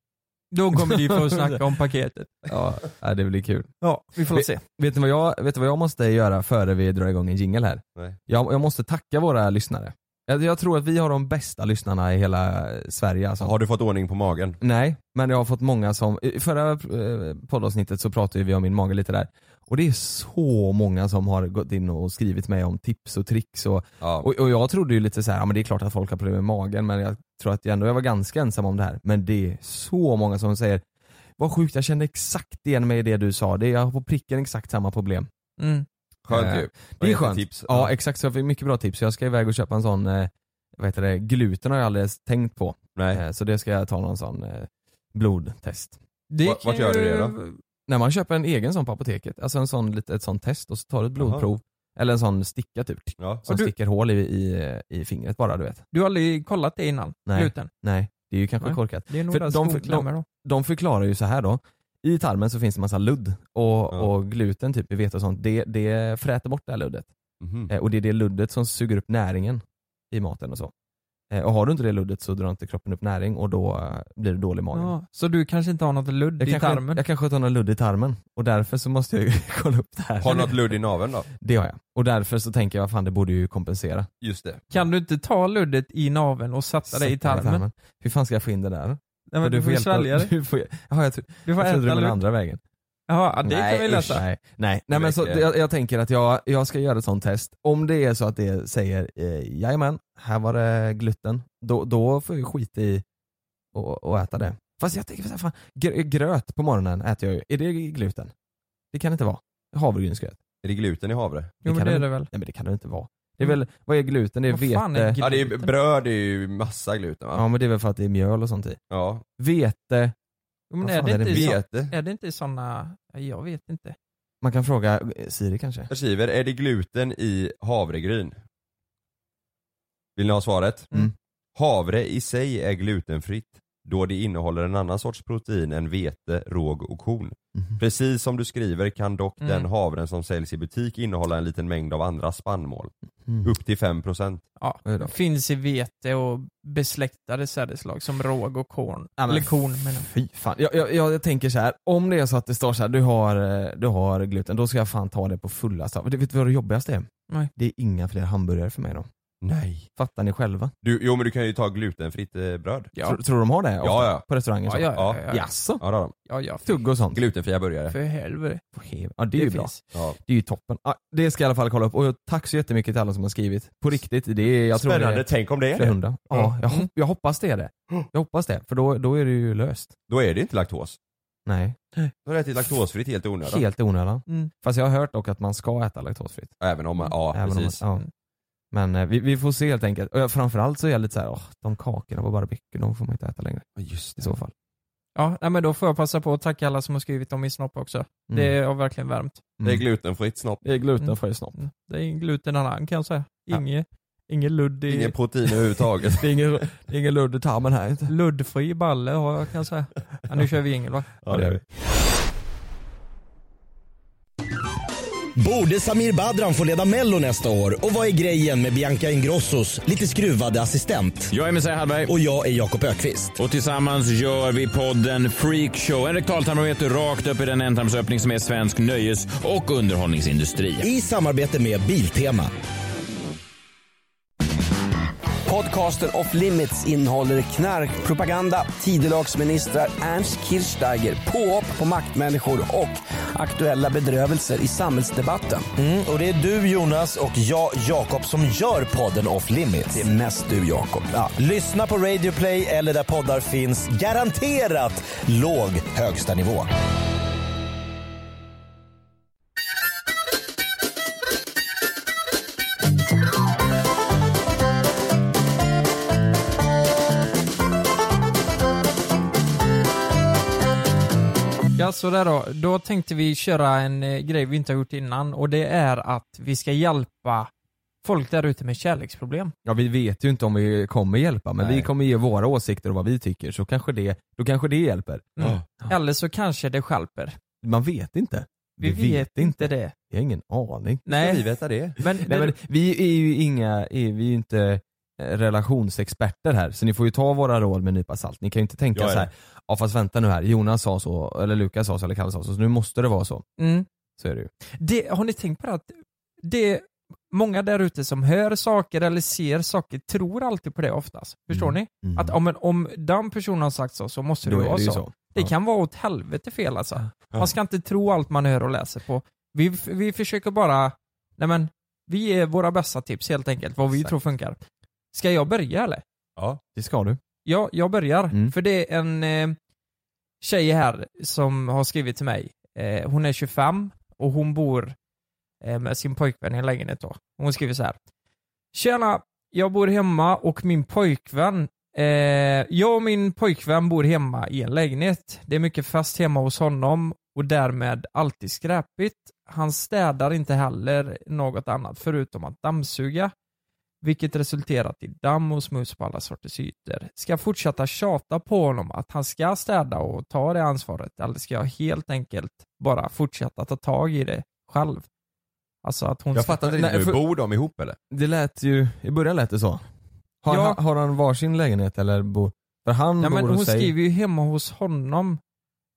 F: De kommer dit för att snacka om paketet.
E: Ja, nej, det blir kul.
F: Ja, vi får se.
E: Vet ni vad jag, vet ni vad jag måste göra före vi drar igång en jingle här?
G: Nej.
E: Jag, jag måste tacka våra lyssnare. Jag, jag tror att vi har de bästa lyssnarna i hela eh, Sverige. Alltså.
G: Har du fått ordning på magen?
F: Mm.
E: Nej, men jag har fått många som, i förra eh, poddavsnittet så pratade vi om min mage lite där. Och det är så många som har gått in och skrivit mig om tips och tricks och
G: Ja.
E: Och, och jag trodde ju lite så här, ja men det är klart att folk har problem med magen men jag tror att jag ändå jag var ganska ensam om det här. Men det är så många som säger, vad sjukt jag kände exakt igen mig i det du sa, det är, jag har på pricken exakt samma problem.
F: Mm.
G: Skönt
E: Eh,
G: ju.
E: Det är
G: Vad
E: skönt.
G: tips.
E: Ja, exakt, så jag fick mycket bra tips. Jag ska iväg och köpa en sån, eh, vad heter det, gluten har jag aldrig ens tänkt på.
G: Nej.
E: Eh, så det ska jag ta någon sån eh, blodtest.
F: Det
G: Vart-
F: kan
G: vart gör du
F: ju-
G: det
E: När man köper en egen sån på apoteket, alltså en sån, lite- ett sånt test och så tar du ett blodprov, eller en sån sticka typ,
G: Ja.
E: som
F: du-
E: sticker hål i, i, i fingret bara du vet.
F: Du har aldrig kollat det innan?
E: Nej.
F: Gluten?
E: Nej, det är ju kanske
F: Nej.
E: korkat.
F: Det är nog
E: För
F: där
E: de-
F: skon
E: de-
F: klämmer då.
E: de förklarar ju så här då. I tarmen så finns det massa ludd och, och gluten, typ i vete och sånt, det, det fräter bort det här luddet.
G: Mhm.
E: Eh, och det är det luddet som suger upp näringen i maten och så. Eh, och har du inte det luddet så drar inte kroppen upp näring och då eh, blir det dålig mage.
F: Ja, så du kanske inte har något ludd
E: Jag
F: i
E: kanske,
F: tarmen?
E: jag kanske tar någon ludd i tarmen och därför så måste jag ju kolla upp det här.
G: Har du något ludd i naveln då?
E: Det har jag. Och därför så tänker jag, fan det borde ju kompensera.
G: Just det.
F: Kan du inte ta luddet i naveln och sätta det i
E: Sätta
F: tarmen?
E: Hur fan ska jag få in det där?
F: Nej, men du, får
E: hjälpa-
F: svälja det.
E: Du får, jaha, jag, tro,
F: Du får
E: jag trodde du
F: äta
E: menade
F: ludd.
E: andra vägen.
F: Ja, det kan vi
E: usch,
F: läsa.
E: Nej, nej. nej men så,
G: verkar-
E: jag, jag tänker att jag, jag ska göra ett sånt test. Om det är så att det säger eh, jajamän, här var det gluten, då, då får jag ju skita i och, och äta det. Fast jag tänker, så här, fan, gr- gröt på morgonen äter jag ju. Är det gluten? Det kan det inte vara. Havregrynsgröt.
G: Är det gluten i havre?
F: Jo men
E: kan
F: det är
E: väl-
F: det väl. Mm.
E: Nej men det kan det inte vara. Det är väl, vad är gluten? Det är
F: Vad fan är
E: vete.
F: gluten?
G: Ja det är bröd, det är ju massa gluten va?
E: Ja men det är väl för att det är mjöl och sånt i.
G: Ja.
E: Vete,
F: Jo, men
E: Vad
F: är
E: fan
F: det,
E: är det?
F: inte i så,
G: Vete.
F: är det inte i sådana... ja, Jag vet inte.
E: man kan fråga eh, Siri kanske.
G: Jag skriver, är det gluten i havregryn? Vill ni ha svaret?
E: Mm.
G: Havre i sig är glutenfritt då det innehåller en annan sorts protein än vete, råg och korn.
E: Mhm.
G: Precis som du skriver kan dock
F: Mm.
G: den havren som säljs i butik innehålla en liten mängd av andra spannmål.
E: Mm.
G: Upp till 5%.
F: Ja,
E: Oj då.
F: finns i vete och besläktade sädesslag som råg och korn.
E: Ja, men
F: Eller korn menar jag.
E: Fy fan. Jag, jag, jag tänker så här. om det är så att det står så här, du har, eh, du har gluten, då ska jag fan ta det på fulla straff. Vet du vad det jobbigaste är?
F: Nej.
E: Det är inga fler hamburgare för mig då.
H: Nej.
G: Fattar ni själva?
H: Du, jo men du kan ju ta glutenfritt eh, bröd. Ja.
G: Tror, tror de har det? ofta?
H: Ja, ja.
G: På restauranger?
H: Ja, ja, ja, ja.
G: Jaså?
H: Ja, det har de.
F: Ja, ja, för,
G: Tugg och sånt?
H: Glutenfria burgare.
F: för helvete.
G: På hev- Ja, det är ju bra.
F: finns.
H: Ja.
G: Det är ju toppen. Ja, det ska jag i alla fall kolla upp. Och tack så jättemycket till alla som har skrivit. På riktigt, det är, jag tror
H: Spännande,
G: det är
H: tänk om det är
G: flera
H: det.
G: hundra. Ja, jag, hop- jag hoppas det är det.
F: Mm.
G: Jag hoppas det, för då, då är det ju löst.
H: Då är det inte laktos.
G: Nej,
H: Då har du ätit laktosfritt helt i onödan.
G: helt i onödan.
F: Mm.
G: Fast jag har hört dock att man ska äta laktosfritt.
H: Även om man, ja
G: Även om man-
H: precis.
F: Mm.
G: ja. Men eh, vi, vi får se helt enkelt. Och jag, framförallt så är jag lite så här, åh, de kakorna på barbecue, de får man inte äta längre
H: Ja, Just
G: i
H: det.
G: så fall.
F: Ja, nej, men då får jag passa på att tacka alla som har skrivit om min snopp också.
G: Mm.
F: Det har verkligen värmt.
H: Det är glutenfritt snopp.
G: Det är glutenfri snopp.
F: Mm. Det är ingen glutenalarm kan jag säga.
G: Ja.
F: Inge, ingen ludd i...
H: Ingen protein överhuvudtaget.
G: Det är ingen, det är ingen ludd i tarmen här inte.
F: Luddfri balle har jag kan jag säga. Ja, nu kör vi jingel va?
H: ja, det är vi.
E: Borde Samir Badran få leda Mello nästa år? Och vad är grejen med Bianca Ingrossos lite skruvade assistent?
I: Jag är Messiah Hallberg.
E: Och jag är Jakob Ökvist.
I: Och tillsammans gör vi podden Freakshow. En rektaltarmometer rakt upp i den ändtarmsöppning som är svensk nöjes och underhållningsindustri.
E: I samarbete med Biltema.
J: Podcasten Off Limits innehåller knarkpropaganda, tidelagsministrar, Ernst Kirchsteiger, påhopp på maktmänniskor och aktuella bedrövelser i samhällsdebatten.
E: Mm, och det är du Jonas och jag Jakob som gör podden Off Limits.
J: Det är mest du, Jakob.
E: Ja, lyssna på Radio Play eller där poddar finns. Garanterat låg högsta nivå.
F: Ja, så där då. Då tänkte vi köra en eh, grej vi inte har gjort innan och det är att vi ska hjälpa folk där ute med kärleksproblem.
G: Ja vi vet ju inte om vi kommer hjälpa men
H: Nej.
G: vi kommer ge våra åsikter och vad vi tycker så kanske det, då kanske det hjälper.
F: Mm.
G: Ja.
F: Eller så kanske det stjälper.
G: Man vet inte.
F: Vi vet, inte det.
G: Jag har ingen aning.
F: Nej.
H: Ska vi veta det?
F: Men,
G: Nej, men vi är ju inga, är, vi är ju inte eh, relationsexperter här så ni får ju ta våra råd med en nypa salt. Ni kan ju inte tänka
H: Jag är
G: så här. ja fast vänta nu här, Jonas sa så, eller Lukas sa så, eller Kalle sa så, så nu måste det vara så.
F: mm.
G: Så är det ju.
F: Det, har ni tänkt på det att det är många där ute som hör saker eller ser saker tror alltid på det oftast. Förstår
G: Mm.
F: ni? Att om, en, om den personen har sagt så, så måste det
G: Då
F: vara
G: är det ju
F: så.
G: så.
F: Det
G: Ja.
F: kan vara åt helvete fel alltså. Man ska inte tro allt man hör och läser på. Vi, vi försöker bara, nej men, vi ger våra bästa tips helt enkelt, vad vi
G: Exakt.
F: tror funkar. Ska jag börja eller?
H: Ja.
G: Det ska du.
F: Ja, jag börjar.
G: Mm.
F: För det är en eh, tjej här som har skrivit till mig. Eh, hon är 25 och hon bor eh, med sin pojkvän i en lägenhet då. Hon skriver så här. Tjena, jag bor hemma och min pojkvän eh, jag och min pojkvän bor hemma i en lägenhet. Det är mycket fest hemma hos honom och därmed alltid skräpigt. Han städar inte heller något annat förutom att dammsuga vilket resulterat i damm och smuts på alla sorters ytor. Ska jag fortsätta tjata på honom att han ska städa och ta det ansvaret eller ska jag helt enkelt bara fortsätta ta tag i det själv? Alltså att hon
H: Jag
F: ska-
H: fattar inte riktigt
G: Nej,
H: nu,
G: för-
H: bor de ihop eller?
G: Det lät ju, i början lät det så. Har,
F: Ja.
G: han, har han varsin lägenhet eller bor, för han
F: Ja,
G: bor
F: men hon
G: hos sig.
F: skriver ju hemma hos honom.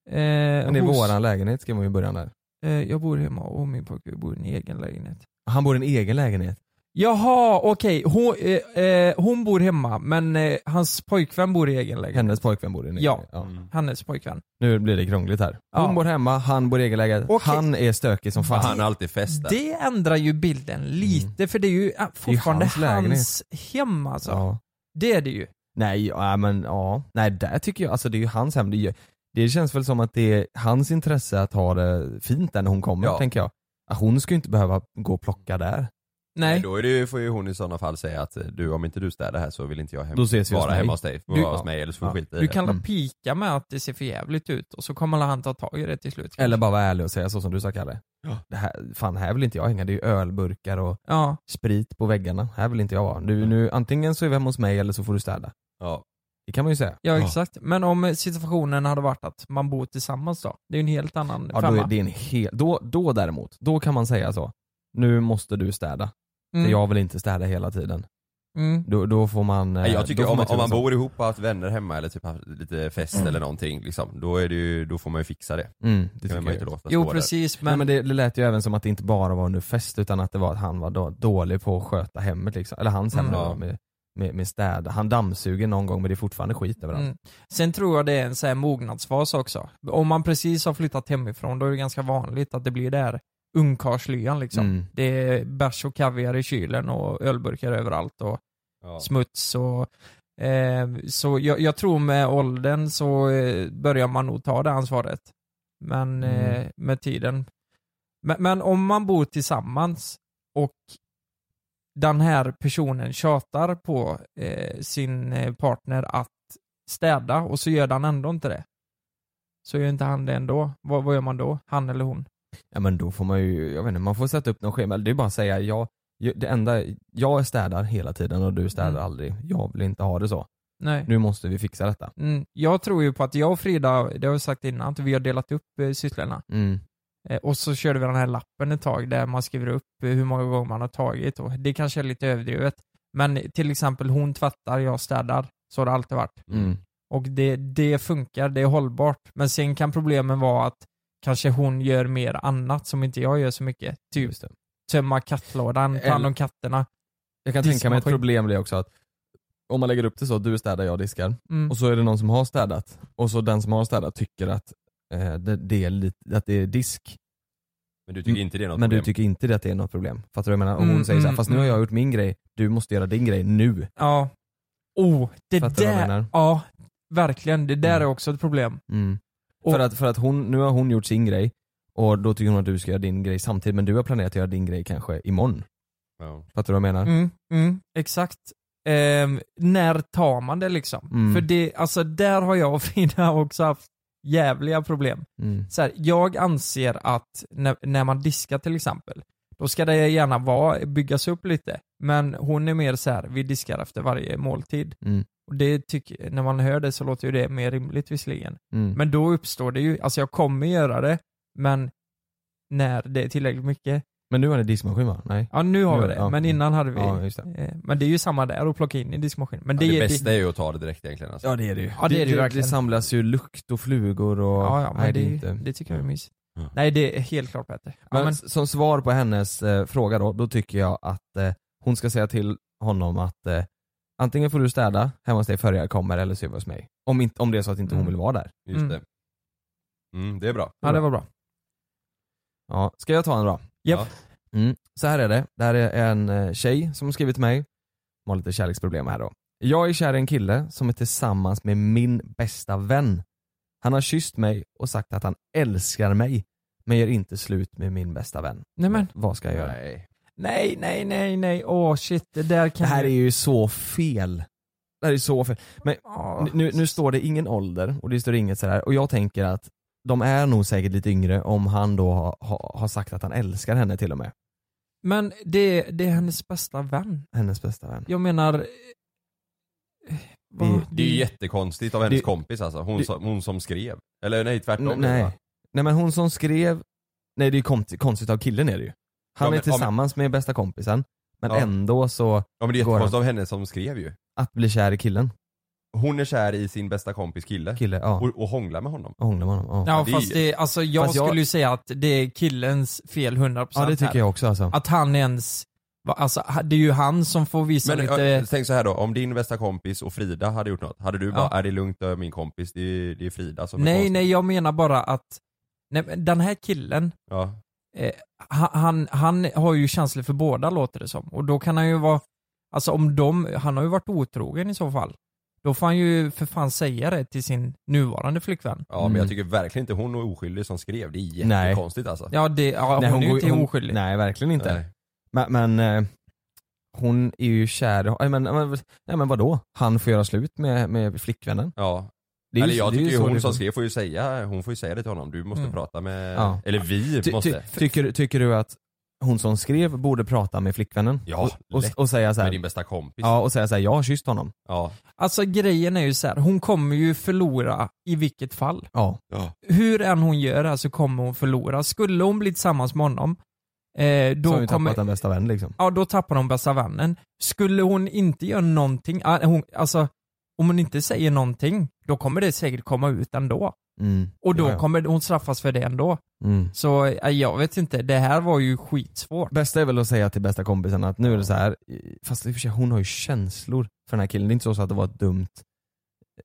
F: Eh,
G: Men det är
F: hos-
G: våran lägenhet skrev hon ju i början där.
F: Eh, jag bor hemma och min pojkvän bor i en egen lägenhet.
G: Han bor i en egen lägenhet.
F: Jaha, okej. Hon, eh, eh, hon bor hemma, men eh, hans pojkvän bor i egen lägenhet.
G: Hennes pojkvän bor i en egen
F: Ja.
G: lägenhet. Ja.
H: Mm.
F: Hennes pojkvän.
G: Nu blir det krångligt här. Hon
F: Ja.
G: bor hemma, han bor i egen lägenhet.
F: Okej.
G: Han är stökig som fan.
H: Han har alltid fest där.
F: Det ändrar ju bilden
G: Mm.
F: lite, för det är ju eh, fortfarande
G: hans
F: hans,
G: lägenhet.
F: hem alltså.
G: Ja.
F: Det är det ju.
G: Nej, ja, äh, men ja. Nej, där tycker jag, alltså det är ju hans hem. Det, är ju- det känns väl som att det är hans intresse att ha det fint där när hon kommer,
H: Ja.
G: tänker jag. Ah, Hon ska ju inte behöva gå och plocka där.
F: Nej.
H: Då är det, ju- får ju hon i sådana fall säga att eh, du, om inte du städar här så vill inte jag hem,
G: Då ses vi hos
H: vara
G: mig.
H: hemma hos dig. Får
G: Du-
H: vara hos
G: ja.
H: mig eller så får du
G: Ja.
H: skita i
F: Du
H: det.
F: kan
G: Mm.
F: pika med att det ser för jävligt ut och så kommer han ta tag i det till slut.
G: Eller bara vara ärlig och säga så som du sa Kalle. Det här, fan, här vill inte jag hänga. Det är ju ölburkar och
F: Ja.
G: sprit på väggarna. Här vill inte jag vara. Du, nu, antingen så är vi hemma hos mig eller så får du städa.
H: Ja.
G: Det kan man ju säga.
F: Ja exakt, men om situationen hade varit att man bor tillsammans då? Det är ju en helt annan
G: Ja, då,
F: femma.
G: är det en hel, då, då däremot, då kan man säga så. Nu måste du städa.
F: Mm.
G: För jag vill inte städa hela tiden.
F: Mm.
G: Då, då får man... eh,
E: Nej, jag
G: då
E: tycker
G: får
E: om, man-
G: inte
E: om man
G: vara så.
E: bor ihop och har haft vänner hemma eller typ haft lite fest
G: Mm.
E: eller någonting liksom, då, är det ju, då får man ju fixa det.
G: Mm,
E: det
G: det
E: kan
G: tycker
E: man ju
G: jag.
E: inte låta
F: Jo,
E: stå där.
F: precis,
G: Men, Nej,
F: men-
G: men det, det lät ju även som att det inte bara var under fest utan att det var att han var då, dålig på att sköta hemmet liksom. Eller hans hem
F: Mm.
G: då, med, med, med städ. Han dammsuger någon gång men det är fortfarande skit överallt.
F: Mm. Sen tror jag det är en så här mognadsfas också. Om man precis har flyttat hemifrån då är det ganska vanligt att det blir där ungkarlslyan liksom.
G: Mm.
F: Det är bärs och kaviar i kylen och ölburkar överallt och
E: Ja.
F: smuts och eh, så jag, jag tror med åldern så eh, börjar man nog ta det ansvaret. Men eh,
G: Mm.
F: med tiden. Men, men om man bor tillsammans och den här personen tjatar på eh, sin eh, partner att städa och så gör han ändå inte det. Så gör inte han det ändå. Vad, vad gör man då? Han eller hon?
G: Ja men då får man ju, jag vet inte, man får sätta upp någon schema. Det är bara att säga, jag, jag- det enda, jag städar hela tiden och du städar
F: Mm.
G: aldrig. Jag vill inte ha det så.
F: Nej.
G: Nu måste vi fixa detta.
F: Mm. Jag tror ju på att jag och Frida, det har jag sagt innan, att vi har delat upp eh, sysslorna.
G: Mm.
F: Eh, Och så körde vi den här lappen ett tag där man skriver upp eh, hur många gånger man har tagit och det kanske är lite överdrivet. Men till exempel hon tvättar, jag städar. Så har det alltid varit.
G: Mm.
F: Och det, det funkar, det är hållbart. Men sen kan problemen vara att kanske hon gör mer annat som inte jag gör så mycket. Typ
G: Just det.
F: tömma kattlådan, ta hand om
G: Eller-
F: katterna.
G: Jag kan tänka mig ett
F: Diskmaskin.
G: problem blir också att om man lägger upp det så, du städar, jag diskar.
F: Mm.
G: Och så är det någon som har städat. Och så den som har städat tycker att, eh, det, det, är lite, att det är disk.
E: Men du tycker inte det är något
G: Men
E: problem?
G: du tycker inte det att det är något problem. Fattar du vad jag menar? Och
F: Mm,
G: hon säger så
F: mm,
G: här, fast nu har jag gjort min grej, du måste göra din grej nu.
F: Ja. Oh, det
G: Fattar du vad jag
F: där.
G: menar?
F: Ja, verkligen. Det där
G: Mm.
F: är också ett problem.
G: Mm.
F: Och-
G: För att, för att hon, nu har hon gjort sin grej och då tycker hon att du ska göra din grej samtidigt men du har planerat att göra din grej kanske imorgon.
E: Ja.
G: Fattar du vad jag menar?
F: Mm, mm, exakt. Ehm, när tar man det liksom?
G: Mm.
F: För det, alltså där har jag och Frida också haft jävliga problem.
G: Mm.
F: Så här, jag anser att när, när man diskar till exempel, då ska det gärna vara, byggas upp lite. Men hon är mer så här, vi diskar efter varje måltid.
G: Mm.
F: Och det tycker, när man hör det så låter ju det mer rimligt visserligen.
G: Mm.
F: Men då uppstår det ju, alltså jag kommer göra det, men när det är tillräckligt mycket.
G: Men nu har ni diskmaskin va? Nej?
F: Ja nu har
G: Nu-
F: vi det,
G: ja.
F: men innan hade vi
G: Ja, just det.
F: Eh, Men det är ju samma där, att plocka in i diskmaskinen. Men
E: Ja,
F: det,
E: det,
F: är-
E: bästa är ju att ta det direkt egentligen alltså.
G: Ja det är det ju.
F: Ja, det är det ju
G: det,
F: verkligen.
G: samlas ju lukt och flugor och...
F: Ja, ja, men
G: Nej,
F: det,
G: det,
F: är
G: är
F: ju-
G: inte...
F: det tycker jag är mysigt.
E: Ja.
F: Nej det är helt klart bättre. Ja,
G: Men,
F: men,
G: s- Som svar på hennes eh, fråga då, då tycker jag att eh, hon ska säga till honom att eh, antingen får du städa hemma hos dig före jag kommer eller så är vi hos mig. Om, inte, om det är så att inte hon
F: Mm.
G: vill vara där.
E: Just
F: Mm.
E: det. Mm, det är bra.
F: ja det var bra.
G: Ja, ska jag ta en då?
F: Japp.
G: Mm. Så här är det, det här är en eh, tjej som har skrivit till mig. Hon har lite kärleksproblem här då. Jag är kär i en kille som är tillsammans med min bästa vän. Han har kysst mig och sagt att han älskar mig men gör inte slut med min bästa vän.
F: Nej men,
G: Vad ska jag göra?
E: Nej.
F: nej nej nej nej, åh shit det där
G: Det
F: kan
G: här
F: ju-
G: är ju så fel. Det här är så fel. Men
F: Ja.
G: nu, nu står det ingen ålder och det står inget sådär och jag tänker att de är nog säkert lite yngre om han då har har har sagt att han älskar henne till och med.
F: Men det, det är hennes bästa vän.
G: Hennes bästa vän.
F: Jag menar... eh, vad-
G: Det-
E: Det är ju jättekonstigt av hennes
G: Det-
E: kompis alltså, hon,
G: det-
E: som, hon som skrev. Eller nej tvärtom.
G: N-
E: va?
G: nej. nej men hon som skrev, nej det är ju konst- konstigt av killen är det ju. Han
E: Ja, men-
G: är tillsammans med bästa kompisen men
E: Ja.
G: ändå så,
E: Ja men det är
G: Går
E: jättekonstigt av henne som skrev ju.
G: att bli kär i killen,
E: Hon är kär i sin bästa kompis kille
G: kille, ja.
E: och, och hånglar med honom.
G: Och hånglar med honom. Ja.
F: Ja
E: det är-
F: fast det, alltså jag
G: Fast jag-
F: skulle ju säga att det är killens fel 100%
G: ja det tycker
F: här.
G: jag också alltså.
F: Att han ens, va- alltså det är ju han som får visa
E: Men
F: lite...
E: äh, tänk så här då, om din bästa kompis och Frida hade gjort något, hade du bara
F: Ja.
E: 'Är det lugnt, det är min kompis, det är, det är Frida som är
F: Nej,
E: konstig."
F: nej, jag menar bara att nej, men den här killen,
E: Ja.
F: ha- han, han har ju känslor för båda låter det som. Och då kan han ju vara, alltså om de, han har ju varit otrogen i så fall. Då får han ju för fan säga det till sin nuvarande flickvän.
E: ja, men
G: Mm.
E: jag tycker verkligen inte hon är oskyldig som skrev, det är
G: Nej.
E: jättekonstigt alltså.
F: Ja, det, ja
G: Nej,
F: hon, är ju
G: går-
F: inte oskyldig.
G: Nej verkligen inte.
E: Nej.
G: Men, men eh, hon är ju kär i- nej, men, men, nej men vadå? Han får göra slut med, med flickvännen.
E: Ja.
G: Det är ju-
E: Eller jag
G: det är ju
E: tycker ju
G: så
E: hon
G: det
E: som
G: går.
E: skrev får ju säga, hon får ju säga det till honom, du måste
F: Mm.
E: prata med,
G: Ja.
E: eller vi
G: Ty,
E: måste.
G: ty, tycker, tycker du att hon som skrev borde prata med flickvännen?
E: Ja,
G: och, och,
E: lätt.
G: och säga så
E: med
G: här,
E: din bästa kompis.
G: Ja och säga såhär, jag har kysst honom.
E: Ja.
F: Alltså grejen är ju så här, hon kommer ju förlora i vilket fall.
G: Ja.
F: Hur än hon gör det här så kommer hon förlora. Skulle hon bli tillsammans med honom, Eh, då
G: Då har vi
F: kommer-
G: tappat en bästa vän liksom.
F: Ja, då tappar de bästa vännen. Skulle hon inte göra någonting, ah, hon, alltså om hon inte säger någonting, då kommer det säkert komma ut ändå.
G: Mm.
F: Och då
G: Ja, ja.
F: kommer hon straffas för det ändå.
G: Mm.
F: Så eh, jag vet inte, det här var ju skitsvårt.
G: Bästa är väl att säga till bästa kompisen att nu är det så här i- fast i och för sig hon har ju känslor för den här killen. Det är inte så att det var ett dumt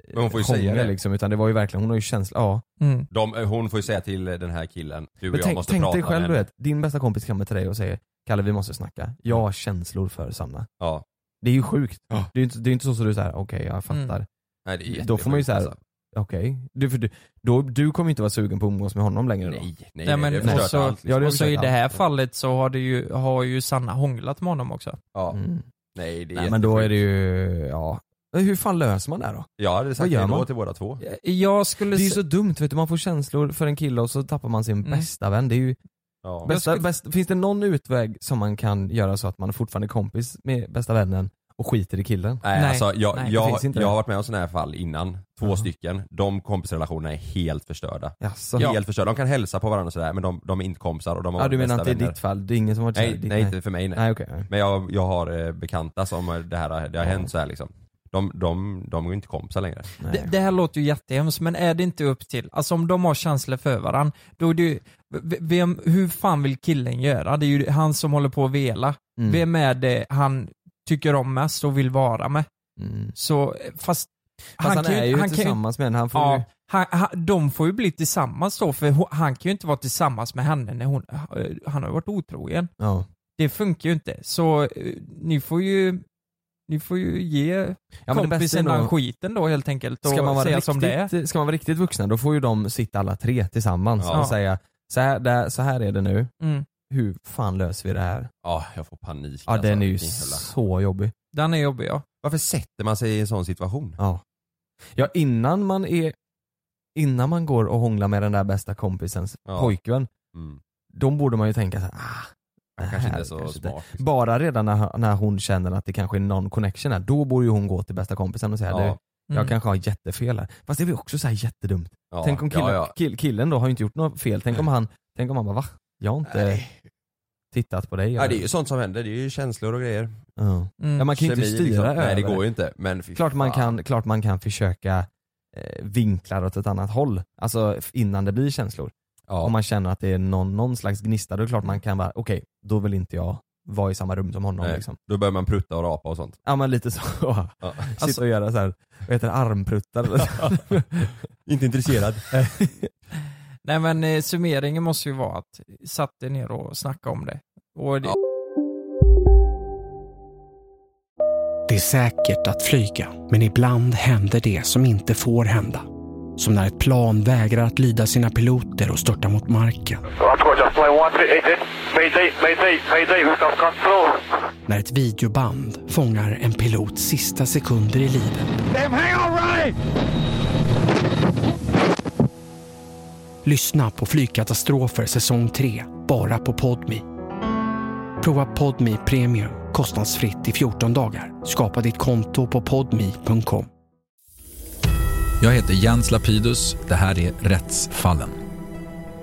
G: eh,
K: Men hon får ju säga
G: hångel,
K: det.
G: Liksom, utan det var ju verkligen, hon har ju känslor, ja.
F: Mm.
K: De, hon får ju säga till den här killen, du och
G: Men
K: jag
G: tänk,
K: måste
G: tänk
K: prata
G: dig själv
K: med
G: du
K: henne.
G: vet, din bästa kompis kommer till dig och säger Kalle vi måste snacka, jag har känslor för Sanna.
K: Ja.
G: Det är ju sjukt. Det är ju inte, det är inte så att du säger okej
F: Mm.
G: jag fattar.
K: Nej, det är
G: då får man ju såhär,
K: jättesjukt,
E: alltså.
G: okej. Du, för du, då, du kommer ju inte vara sugen på att umgås med honom längre då.
K: Nej, nej,
F: Nej, men, alltså- och så,
G: Ja, det har
F: liksom. och så i
G: förstört
F: det här
G: allt.
F: fallet så har, det ju, har ju Sanna hånglat med honom också.
K: Ja.
G: Mm.
K: Nej, det är
G: Nej men då är det ju, ja. Men Hur fan löser man det här då?
K: Jag hade sagt
G: Vad gör
K: hej då
G: man?
K: till båda två.
F: Jag skulle...
G: Det är ju
F: sä-
G: så dumt vet du, man får känslor för en kille och så tappar man sin
F: Mm.
G: bästa vän. Det är ju
K: Ja.
G: bästa, bäst- finns det någon utväg som man kan göra så att man fortfarande är kompis med bästa vännen och skiter i killen?
K: Nej, alltså jag,
G: Det
K: jag,
G: finns inte
K: jag har
G: det.
K: varit med om sådana här fall innan. Två stycken. De kompisrelationerna är helt förstörda.
G: Jaså?
K: Helt förstörda. De kan hälsa på varandra och sådär men de, de är inte kompisar och de har
G: Ja, du
K: varit
G: menar
K: bästa
G: inte i
K: vänner.
G: ditt fall? Det är ingen som har varit så här
K: Nej,
G: i ditt,
K: nej, inte för mig nej.
G: Nej, okej. nej.
K: Men jag, jag har eh, bekanta som eh, det här har- det har
G: Ja.
K: hänt så här liksom. De, de, de är ju inte kompisar längre.
F: Det, det här låter ju jättehemskt, men är det inte upp till, alltså om de har känslor för varandra, då är det ju, v- vem, hur fan vill killen göra? Det är ju han som håller på att vela.
G: Mm.
F: Vem är det han tycker om mest och vill vara med?
G: Mm.
F: Så, eh, fast,
G: Fast han,
F: kan
G: är ju
F: han kan
G: tillsammans med henne, han får ju...
F: Ja, han, han, de får ju bli tillsammans då, för ho- han kan ju inte vara tillsammans med henne när hon, eh, han har ju varit otrogen.
G: Ja.
F: Det funkar ju inte. Så eh, ni får ju, ni får ju ge
G: men det bästa är
F: kompisen
G: nog-
F: den skiten då helt enkelt och
G: Ska man, vara
F: säga som det är.
G: riktigt, ska man vara riktigt vuxna då får ju de sitta alla tre tillsammans
K: Ja.
G: och säga så här, där, så här är det nu,
F: Mm.
G: hur fan löser vi det här?
K: Ja, jag får panik
G: Ja den är ju
K: Vilken jävla-
G: så jobbig.
F: Den är jobbig ja.
K: Varför sätter man sig i en sån situation?
G: Ja. ja innan man är innan man går och hånglar med den där bästa kompisens
K: Ja.
G: pojkvän,
K: Mm.
G: då borde man ju tänka så här, ah, det
K: Han kanske
G: här
K: inte är så
G: kanske inte-
K: smart. liksom."
G: Bara redan när, när hon känner att det kanske är någon connection här, då borde ju hon gå till bästa kompisen och säga
K: Ja.
G: du, jag
F: Mm.
G: kanske har jättefel här. Fast det är väl också så här jättedumt.
K: Ja,
G: tänk om killen,
K: ja, ja.
G: Kill, killen då har ju inte gjort något fel, tänk om han, tänk om han bara va? Jag har inte tittat på dig.
K: Ja,
G: eller?"
K: det är ju sånt som händer, det är ju känslor och grejer.
G: ja.
F: Mm.
G: Ja, man kan ju inte
K: Kemi, liksom.
G: styra över
K: Nej det
G: det.
K: går ju inte. Men fy
G: Klart man,
K: fan.
G: kan, klart man kan försöka eh, vinkla det åt ett annat håll, alltså f- innan det blir känslor.
K: Ja.
G: Om man känner att det är någon, någon slags gnista, då är det klart man kan vara, okej, då vill inte jag vara i samma rum som honom
K: Nej,
G: liksom.
K: Då börjar man prutta och rapa och sånt.
G: Ja men lite så.
K: Ja.
G: Sitta och göra såhär, vad heter det, armpruttar eller så.
K: Inte intresserad.
F: Nej men eh, summeringen måste ju vara att satt er ner och snacka om det. Och det
L: Det är säkert att flyga, men ibland händer det som inte får hända. Som när ett plan vägrar att lyda sina piloter och störtar mot marken. När ett videoband fångar en pilots sista sekunder i livet. Lyssna på Flygkatastrofer säsong 3, bara på Podmi. Prova Podmi Premium kostnadsfritt i 14 dagar. Skapa ditt konto på podmi.com.
I: Jag heter Jens Lapidus. Det här är Rättsfallen.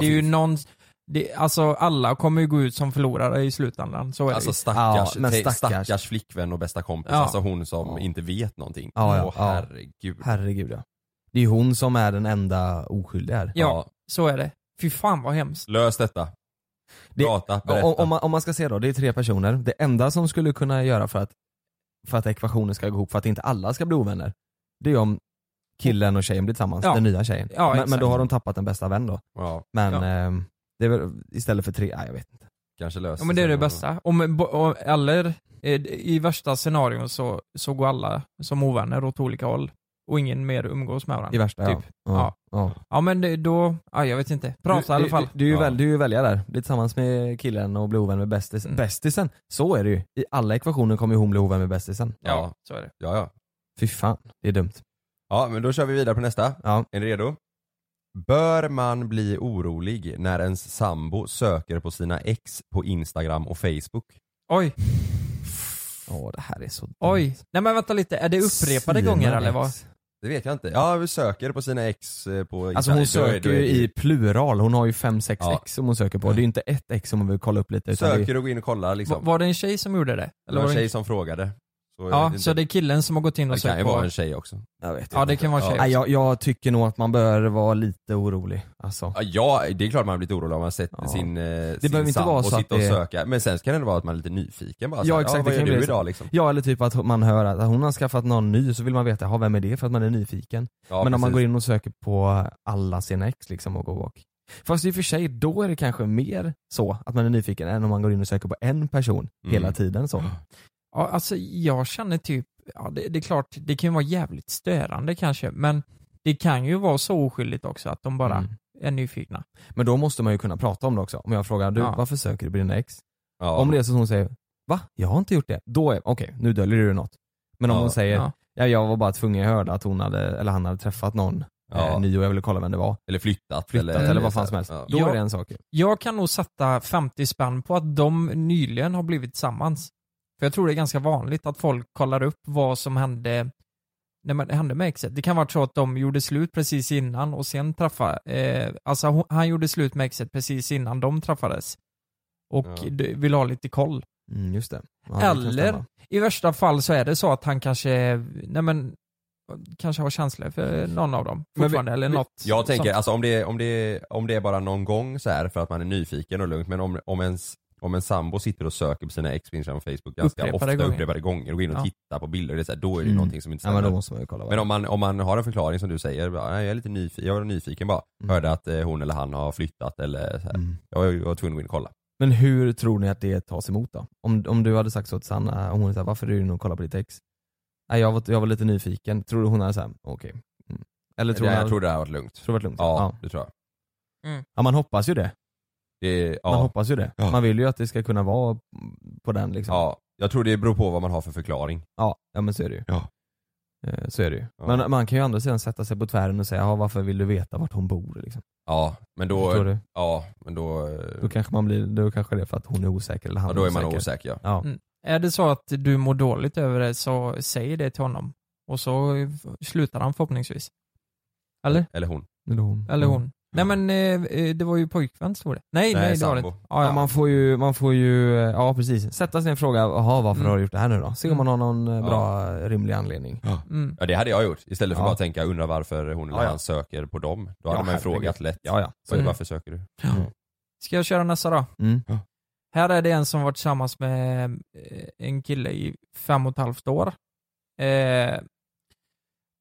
F: det är ju någon, det, alltså alla kommer ju gå ut som förlorare i slutändan. Så är
K: Alltså
F: det ju.
K: stackars, stackars. stackars flickvän och bästa kompis,
F: Ja.
K: alltså hon som inte vet någonting.
G: Ja, ja,
K: Åh
G: ja.
K: herregud.
G: Herregud ja. Det är ju hon som är den enda oskyldiga här.
F: Ja, så är det. Fy fan vad hemskt.
G: Lös detta. Prata, berätta.
E: Om, om, man, om man ska se då, det är tre personer. Det enda som skulle kunna göra för att, för att ekvationen ska gå ihop, för att inte alla ska bli ovänner, det är om killen och tjejen blir tillsammans,
F: Ja.
E: den nya tjejen.
F: Ja,
E: men, men
F: exakt.
E: då har de tappat en bästa vän då. Men
F: Ja.
E: ehm, det är väl istället för tre, nej jag vet inte.
G: Kanske
F: Ja men det är det bästa. Om, bo- om, eller eh, i värsta scenarion så, så går alla som ovänner åt olika håll och ingen mer umgås med varandra.
E: I värsta
F: typ.
E: ja. Ja. ja.
F: Ja men det, då, ja, jag vet inte. Prata i alla fall.
E: Du, du, du, är ju
F: ja.
E: väl, du är ju välja där, bli tillsammans med killen och bli ovän med bästis,
G: Mm.
E: bästisen. Så är det ju. I alla ekvationer kommer ju hon bli ovän med bästisen.
G: Ja,
F: så är det.
G: Ja, ja.
E: Fy fan, det är dumt.
G: Ja, men då kör vi vidare på nästa. Är ni redo? Bör man bli orolig när ens sambo söker på sina ex på Instagram och Facebook?
F: Oj.
E: Åh, det här är så
F: Oj. Nej men vänta lite, är det upprepade gånger eller vad?
G: Det vet jag inte. Ja, vi söker på sina ex eh, på Instagram.
E: Alltså hon
G: Då är-
E: söker
G: då är
E: ju
G: det-
E: i plural, hon har ju fem sex
G: Ja.
E: ex som hon söker på. Det är ju inte ett ex som hon vill kolla upp lite. Utan det
G: Söker
E: är,
G: och går in och kollar liksom.
F: Var det en tjej som gjorde det?
G: Det
F: var
G: var en
F: det
G: tjej som frågade. Så jag
F: Ja,
G: vet inte.
F: så det är killen som har gått in och
G: Det kan ju
F: sökt
G: vara
F: på...
G: en tjej också.
E: Jag vet
F: Alltså, Ja det kan vara en tjej
E: Nej,
F: också.
E: jag, jag tycker nog att man bör vara lite orolig. Alltså.
G: Ja, ja, det är klart man blir lite orolig om man sett sin, eh, sin
E: behöver inte
G: sambo
E: vara så att
G: sitta och
E: det-
G: söka. Men sen kan det vara att man är lite nyfiken bara. så här,
E: Ja exakt,
G: ja, vad
E: det kan
G: gör
E: ju
G: du
E: bli så.
G: idag liksom?
E: Ja eller typ att man hör att hon har skaffat någon ny så vill man veta, ja vem är det? För att man är nyfiken.
G: Ja,
E: Men om man
G: precis.
E: går in och söker på alla sina ex liksom och går och Fast i och för sig, då är det kanske mer så att man är nyfiken än om man går in och söker på en person
G: Mm.
E: hela tiden så.
F: Ja, alltså jag känner typ, ja, det, det är klart, det kan ju vara jävligt störande kanske, men det kan ju vara så oskyldigt också att de bara
E: Mm.
F: är nyfikna.
E: Men då måste man ju kunna prata om det också. Om jag frågar, du
F: Ja.
E: varför söker du på dina ex?
G: Ja.
E: Om det är så att hon säger, va? Jag har inte gjort det. Då är, okej, nu döljer du något. Men om
G: Ja.
E: hon säger,
G: Ja.
E: ja. jag var bara tvungen, jag hörde att hon hade, eller han hade träffat någon
G: Ja.
E: eh, ny och jag ville kolla vem det var.
G: Eller flyttat.
E: Flyttat eller, vad fan som helst. Då
F: Ja.
E: är det en sak. ju.
F: Jag kan nog sätta 50 spänn på att de nyligen har blivit tillsammans. För jag tror det är ganska vanligt att folk kollar upp vad som hände när man, det hände med exet. Det kan vara så att de gjorde slut precis innan och sen träffade, eh, alltså hon, han gjorde slut med exet precis innan de träffades. Och
E: Ja.
F: d- vill ha lite koll.
E: Mm, just det. Ja, det kan
F: Eller
E: stämma.
F: i värsta fall så är det så att han kanske, nej men, kanske har känslor för någon av dem
G: Men vi-
F: fortfarande eller
G: vi-
F: något.
G: Jag tänker,
F: sånt.
G: alltså om det, är- om, det, är- om det är bara någon gång så här för att man är nyfiken och lugnt, men om, om, ens, om en sambo sitter och söker på sina ex på Instagram och Facebook ganska
E: Upprepade
G: ofta,
E: gånger.
G: upprepade gånger och går in och
E: Ja.
G: tittar på bilder, det är så här, då är det ju
E: Mm.
G: någonting som inte
E: Ja,
G: stämmer.
E: men då måste man ju kolla vad
G: Men
E: det
G: om man, om man har en förklaring som du säger, bara, "Nej, jag är lite nyfiken, jag var nyfiken bara,
E: Mm.
G: hörde att eh, hon eller han har flyttat eller så här. Jag, var, jag var tvungen att gå in och kolla.
E: Men hur tror ni att det tas emot då? Om, om du hade sagt så till Sanna, och hon sa varför är du inne och kollar på ditt ex? Nej, jag, var, jag var lite nyfiken, tror du hon hade såhär, okej. Mm. Eller tror
G: Nej,
E: hon
G: jag
E: hade-
G: tror det hade varit lugnt.
E: Tror det varit lugnt?
G: Ja, det tror jag.
E: Ja man hoppas ju det.
G: Det, ja.
E: Man hoppas ju det.
G: Ja.
E: Man vill ju att det ska kunna vara på den liksom.
G: Ja, jag tror det beror på vad man har för förklaring.
E: Ja, ja men så är det ju.
G: Ja.
E: Eh, Så är det ju. Men man kan ju å andra sidan sätta sig på tvären och säga, ja, varför vill du veta vart hon bor liksom?
G: Ja, men
E: Förstår
G: då,
E: du?
G: ja, men då, eh,
E: Då kanske man blir, då kanske det är för att hon är osäker eller han
G: ja, då är man osäker ja.
E: Ja.
F: Mm. Är det så att du mår dåligt över det så säg det till honom. Och så eh, slutar han förhoppningsvis. Eller?
G: Eller hon.
E: Eller hon.
F: Eller hon. Nej
E: Mm.
F: men eh, eh, det var ju pojkvän stod det. Nej, nej, det var det inte. Ja, ja.
E: Man får ju, man får ju, eh, ja precis. Sätta sig en fråga, jaha varför
F: Mm.
E: har du gjort det här nu då? Se om man har någon eh,
G: Ja.
E: bra, eh, rimlig anledning.
F: Mm.
G: Ja det hade jag gjort. Istället för
E: Ja.
G: bara att tänka undra varför hon eller
E: Ja, ja.
G: han söker på dem. Då
E: Ja,
G: hade man ju
E: herregud.
G: frågat lätt.
E: Ja, ja.
G: Vad-
F: Mm.
G: Varför söker du?
F: Ska jag köra nästa då?
E: Mm.
F: Här är det en som varit tillsammans med eh, en kille i fem och ett halvt år. Eh,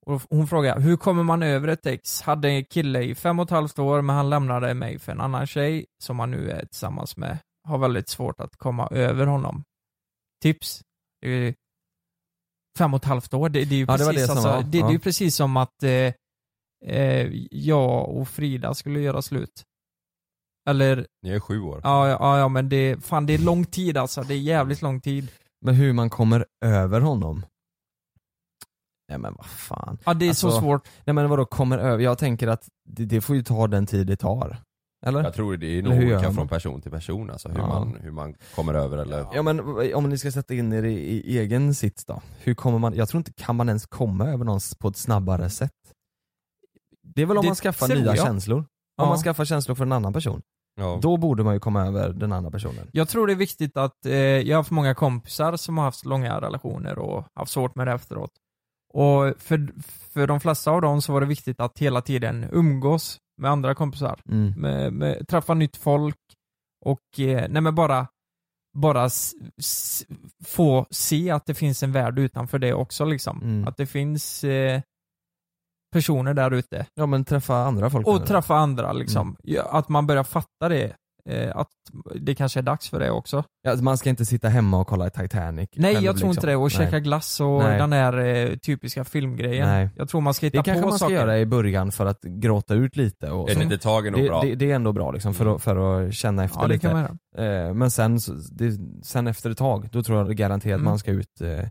F: och hon frågar, hur kommer man över ett ex? Hade en kille i fem och ett halvt år, men han lämnade mig för en annan tjej som han nu är tillsammans med. Har väldigt svårt att komma över honom. Tips? Det är ju fem och ett halvt år, det, det är ju
E: Ja, det
F: precis,
E: var det som
F: alltså,
E: var,
F: det, det är
E: ja.
F: ju precis som att eh, eh, jag och Frida skulle göra slut. Eller
G: Ni är sju år.
F: Ja, ja, ja men det, fan det är lång tid alltså. Det är jävligt lång tid.
E: Men hur man kommer över honom? Nej men vad fan. Alltså,
F: Ja, det är så svårt.
E: Nej men vadå kommer över? Jag tänker att det, det får ju ta den tid det tar. Eller?
G: Jag tror det är nog
E: Eller hur gör
G: olika
E: man?
G: från person till person alltså hur,
E: Ja.
G: man, hur man kommer över eller
E: Ja men v- om ni ska sätta in er i, i egen sits då? Hur kommer man, jag tror inte, kan man ens komma över någon s- på ett snabbare sätt? Det är väl om
F: Det
E: man skaffar
F: tror
E: nya
F: jag.
E: känslor? Om
F: Ja.
E: man skaffar känslor för en annan person?
G: Ja.
E: Då borde man ju komma över den andra personen.
F: Jag tror det är viktigt att, eh, jag har haft många kompisar som har haft långa relationer och haft svårt med det efteråt. Och för, för de flesta av dem så var det viktigt att hela tiden umgås med andra kompisar.
E: Mm.
F: Med, med, träffa nytt folk och eh, nej men bara, bara s, s, få se att det finns en värld utanför det också. Liksom. Att det finns eh, personer där ute.
E: Ja men träffa andra folk.
F: Och
E: menar du?
F: träffa andra. Liksom. Ja, Att man börjar fatta det. Eh, att det kanske är dags för det också.
E: Ja, alltså man ska inte sitta hemma och kolla Titanic.
F: Nej,
E: själv,
F: jag tror
E: liksom.
F: inte det. Och käka
E: Nej.
F: glass och
E: Nej.
F: den här eh, typiska filmgrejen.
E: Nej.
F: Jag tror man ska hitta
E: Det kanske
F: på
E: man ska
F: saker.
E: göra i början för att gråta ut lite. Och
G: Ett
E: så.
G: litet tag är nog
E: det,
G: bra.
E: Det, det är ändå bra liksom för, att, för att känna efter
F: Ja, det
E: lite.
F: kan man
E: Eh, Men sen, så- det, sen efter ett tag, då tror jag garanterat
F: Mm.
E: man ska ut eh,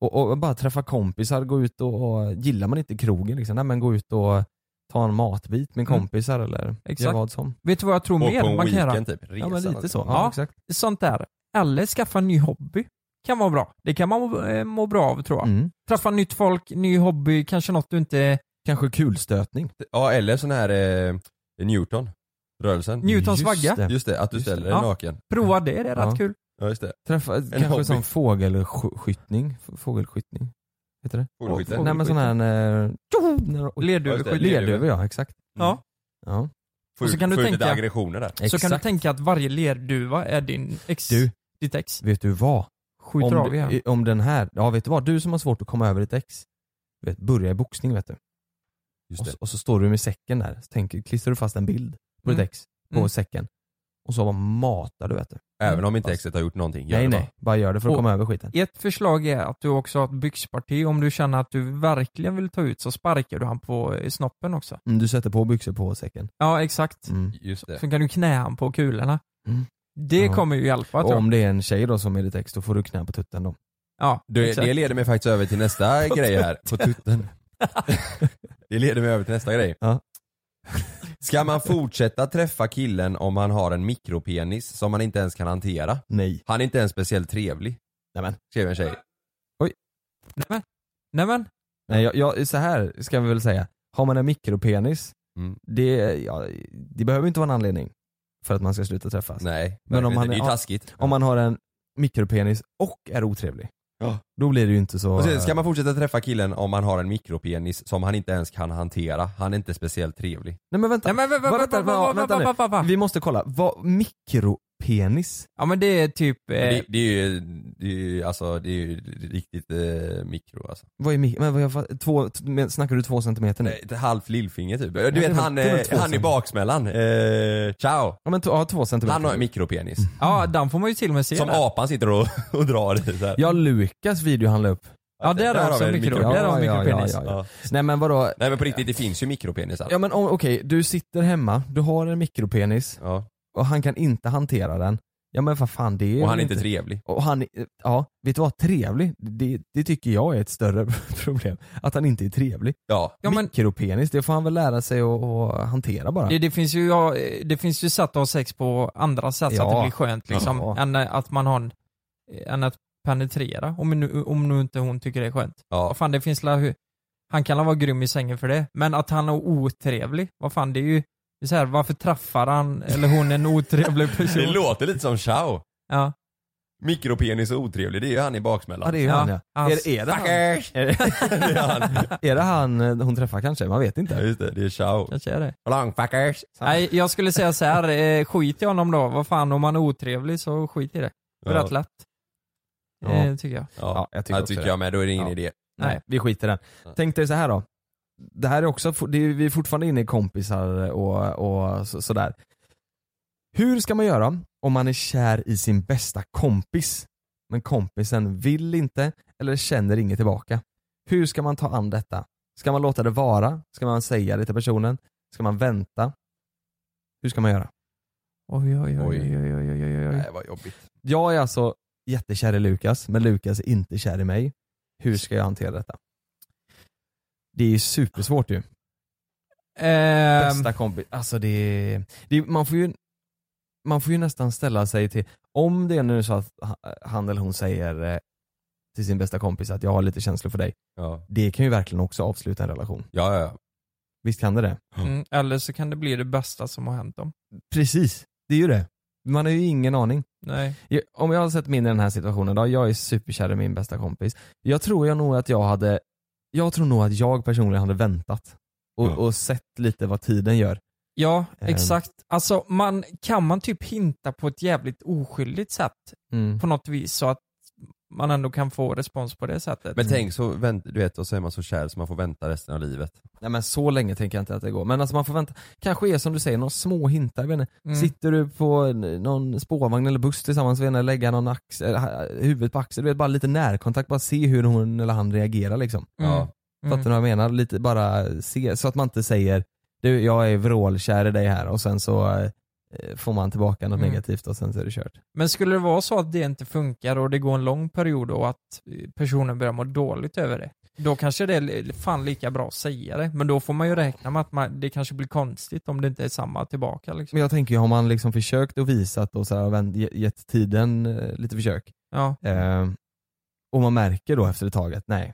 E: och, och bara träffa kompisar, gå ut och, och gillar man inte krogen liksom, nej, men gå ut och ta en matbit med
F: Mm.
E: kompisar eller
F: Exakt.
E: göra vad som.
F: Vet du vad jag tror
E: Och
F: mer
E: på en
F: man kan göra?
E: weekend typ, resa
F: ja, men lite
E: någonstans.
F: så.
E: Ja, exakt.
F: Sånt där. Eller skaffa en ny hobby. Kan vara bra. Det kan man må, eh, må bra av tror jag.
E: Mm.
F: Träffa nytt folk, ny hobby, kanske något du inte...
E: Kanske kulstötning.
G: Ja, eller sån här eh, Newton. Rörelsen.
F: Newtons
G: Just
F: vagga.
G: det. Just det, att du ställer dig
F: Ja.
G: naken.
F: Prova det, det är rätt
E: Ja.
F: kul.
G: Ja, just det.
E: Träffa, kanske
G: hobby.
E: som fågelskyttning, F- fågelskjutning, heter det?
G: Fågelskytte.
E: Nej men sån här, eh, tjoho, när- oj.
F: Lerduveskytte.
E: Lerduvor ja, exakt. Mm.
F: Ja.
E: Ja.
G: Få
F: Och så
G: ut-
F: kan,
G: få
F: du
G: ut
F: tänka,
G: lite aggressioner där.
F: så kan du
G: Exakt.
F: tänka att varje lerduva är din ex,
E: Du.
F: ditt ex.
E: Vet du vad?
F: Skjuter
E: om,
F: av igen.
E: i- om den här, ja vet du vad? Du som har svårt att komma över ditt ex, vet, börja i boxning vet du.
G: Just
E: och,
G: det.
E: så, och så står du med säcken där, så tänker, klistrar du fast en bild på
G: Mm.
E: ditt ex, på
G: Mm.
E: säcken. Och så bara matar du vet du.
G: Även om inte exet har gjort någonting. gör
E: Mm. Nej
G: det
E: nej, bara. gör det för att
F: Och
E: komma över skiten.
F: Ett förslag är att du också har ett byxparti. Om du känner att du verkligen vill ta ut så sparkar du han på eh, snoppen också.
E: Mm, du sätter på byxor på säcken.
F: Ja, exakt.
G: Just det.
F: Så kan du knä han på kulorna.
E: Mm.
F: Det
E: Ja.
F: kommer ju hjälpa tror
E: Och
F: jag.
E: om det är en tjej då som är ditt ex, då får du knä på tutten då.
F: Ja,
G: Det,
F: exakt.
G: det leder mig faktiskt över till nästa
F: På
G: grej här. På
F: tutten.
G: tutten. det leder mig över till nästa grej.
E: Ja.
G: Ska man fortsätta träffa killen om han har en mikropenis som man inte ens kan hantera?
E: Nej.
G: Han är inte ens speciellt trevlig.
E: Nämen.
G: Skrev en tjej.
F: Nämen. Nämen.
E: Nej, jag, jag, så här ska vi väl säga. Har man en mikropenis,
G: Mm,
E: det, ja, det behöver inte vara en anledning för att man ska sluta träffas.
G: Nej,
E: Alltså, Men om
G: verkligen.
E: man,
G: Det är ju
E: ja,
G: taskigt.
E: Om man har en mikropenis och är otrevlig,
G: Ja.
E: då blir det ju inte så...
G: Och sen ska man fortsätta träffa killen om man har en mikropenis som han inte ens kan hantera. Han är inte speciellt trevlig.
E: Nej men vänta,
F: Nej, men vä- vä-
E: Bara
F: vä-
E: vänta,
F: vä-
E: vänta,
F: vä-
E: vänta
F: vä-
E: nu.
F: vä- vä- vä-
E: vi måste kolla. Vad, mikropenis?
F: Ja men det är typ... Eh,
G: Men Det, det är ju, det är ju, alltså, det är ju riktigt eh, mikro alltså.
E: Vad är mik- men vad jag, fatt- två, t- men snackar du två centimeter nu?
G: Nej, Ett halvt lillfinger typ. Du
E: Ja, det är
G: vet
E: väl-
G: han,
E: det är väl
G: eh,
E: två
G: han i
E: centimeter.
G: baksmällan. Eh, ciao.
E: Ja men t- ja, två centimeter.
G: Han har en mikropenis.
F: Mm. Ja, den får man ju till och med se
G: Som
F: där.
G: apan sitter och, och drar i så här.
E: Ja Lukas video han la upp.
F: Ja, där har också en mikro. Där har vi en mikropenis.
E: Ja, ja, ja. Nej men vadå?
G: Nej men på riktigt, det finns ju mikropenisar.
E: Ja men om- okej, du sitter hemma, du har en mikropenis
G: Ja.
E: och han kan inte hantera den. Ja men vad fan det är
G: Och han
E: väl
G: är inte trevlig.
E: Och han, eh, ja, vet du vad? Trevlig, det, det tycker jag är ett större problem. Att han inte är trevlig.
G: Ja.
E: Mikropenis, det får han väl lära sig att, att hantera bara.
F: Det, det, finns ju, ja, eh, det finns ju sätt att ha sex på andra sätt så att det
E: Ja.
F: blir skönt liksom.
E: Ja.
F: Än eh, att man har en, än att penetrera. Om nu, om nu inte hon tycker det är skönt.
G: Ja.
F: Vad fan det finns la, hu- han kan la vara grym i sängen för det. Men att han är otrevlig, vad fan det är ju det är så här, varför träffar han eller hon en otrevlig person?
G: Det låter lite som ciao.
F: Ja.
G: Mikropenis och otrevlig, det är ju han i baksmällan.
E: Ja det är ju han ja. Är, är, det han,
G: Stackars!
E: är, det,
G: Det är han.
E: är det han eh, hon träffar kanske? Man vet inte.
G: Ja, just det, det är ciao.
F: Kanske är det.
G: Långfuckers.
F: Nej, jag skulle säga så här, eh, skit i honom då. Vad fan, om han är otrevlig så skit i det. Det är
G: Ja.
F: rätt lätt.
E: Ja.
F: Eh, tycker jag.
G: Ja,
E: jag tycker
G: det
E: också
G: tycker
E: det.
G: jag med. Då är det ingen
E: Ja.
G: idé.
E: Nej, vi skiter i den. Tänk dig så här då. Det här är också, det är, vi är fortfarande inne i kompisar och, och så, sådär. Hur ska man göra om man är kär i sin bästa kompis men kompisen vill inte eller känner inget tillbaka? Hur ska man ta an detta? Ska man låta det vara? Ska man säga det till personen? Ska man vänta? Hur ska man göra?
F: Oj, oj, oj, oj, oj, oj, oj, oj.
G: Nej, vad jobbigt.
E: Jag är alltså jättekär i Lukas, men Lukas är inte kär i mig. Hur ska jag hantera detta? Det är ju supersvårt ju.
F: Ehm,
E: Bästa kompis, alltså det, är- det är- man, får ju, man får ju nästan ställa sig till, om det är nu så att ha- han eller hon säger eh, till sin bästa kompis att jag har lite känslor för dig.
G: Ja.
E: Det kan ju verkligen också avsluta en relation.
G: Ja, ja, ja.
E: Visst kan det det?
F: Mm, eller så kan det bli det bästa som har hänt dem.
E: Precis, det är ju det. Man har ju ingen aning.
F: Nej.
E: Jag- Om jag hade sett min i den här situationen då, jag är superkär i min bästa kompis. Jag tror jag nog att jag hade, jag tror nog att jag personligen hade väntat och, och sett lite vad tiden gör.
F: Ja,
G: Ehm.
F: exakt. Alltså, man, kan man typ hinta på ett jävligt oskyldigt sätt
G: Mm.
F: på något vis så att man ändå kan få respons på det sättet.
E: Men tänk så, vänt, du vet, och så är man så kär så man får vänta resten av livet.
G: Nej men så länge tänker jag inte att det går. Men alltså man får vänta. Kanske är som du säger, några små hintar. jag Vet inte.
F: Mm.
G: Sitter du på en- någon spårvagn eller buss tillsammans, vet inte, lägga någon axel, eller ha- huvudet på axeln. Du vet, bara lite närkontakt, bara se hur hon eller han reagerar liksom.
E: Mm. Ja.
G: Fattar du vad jag menar? Lite bara se, så att man inte säger du jag är vrålkär i dig här och sen så eh, får man tillbaka något
F: Mm.
G: negativt och sen så är det kört.
F: Men skulle det vara så att det inte funkar och det går en lång period och att eh, personen börjar må dåligt över det, då kanske det är li- fan lika bra att säga det. Men då får man ju räkna med att man, det kanske blir konstigt om det inte är samma tillbaka. Liksom.
G: Men jag tänker ju, har man liksom försökt och visat och så här, vänt- ge- gett tiden eh, lite försök
F: Ja.
G: eh, och man märker då efter ett tag att nej,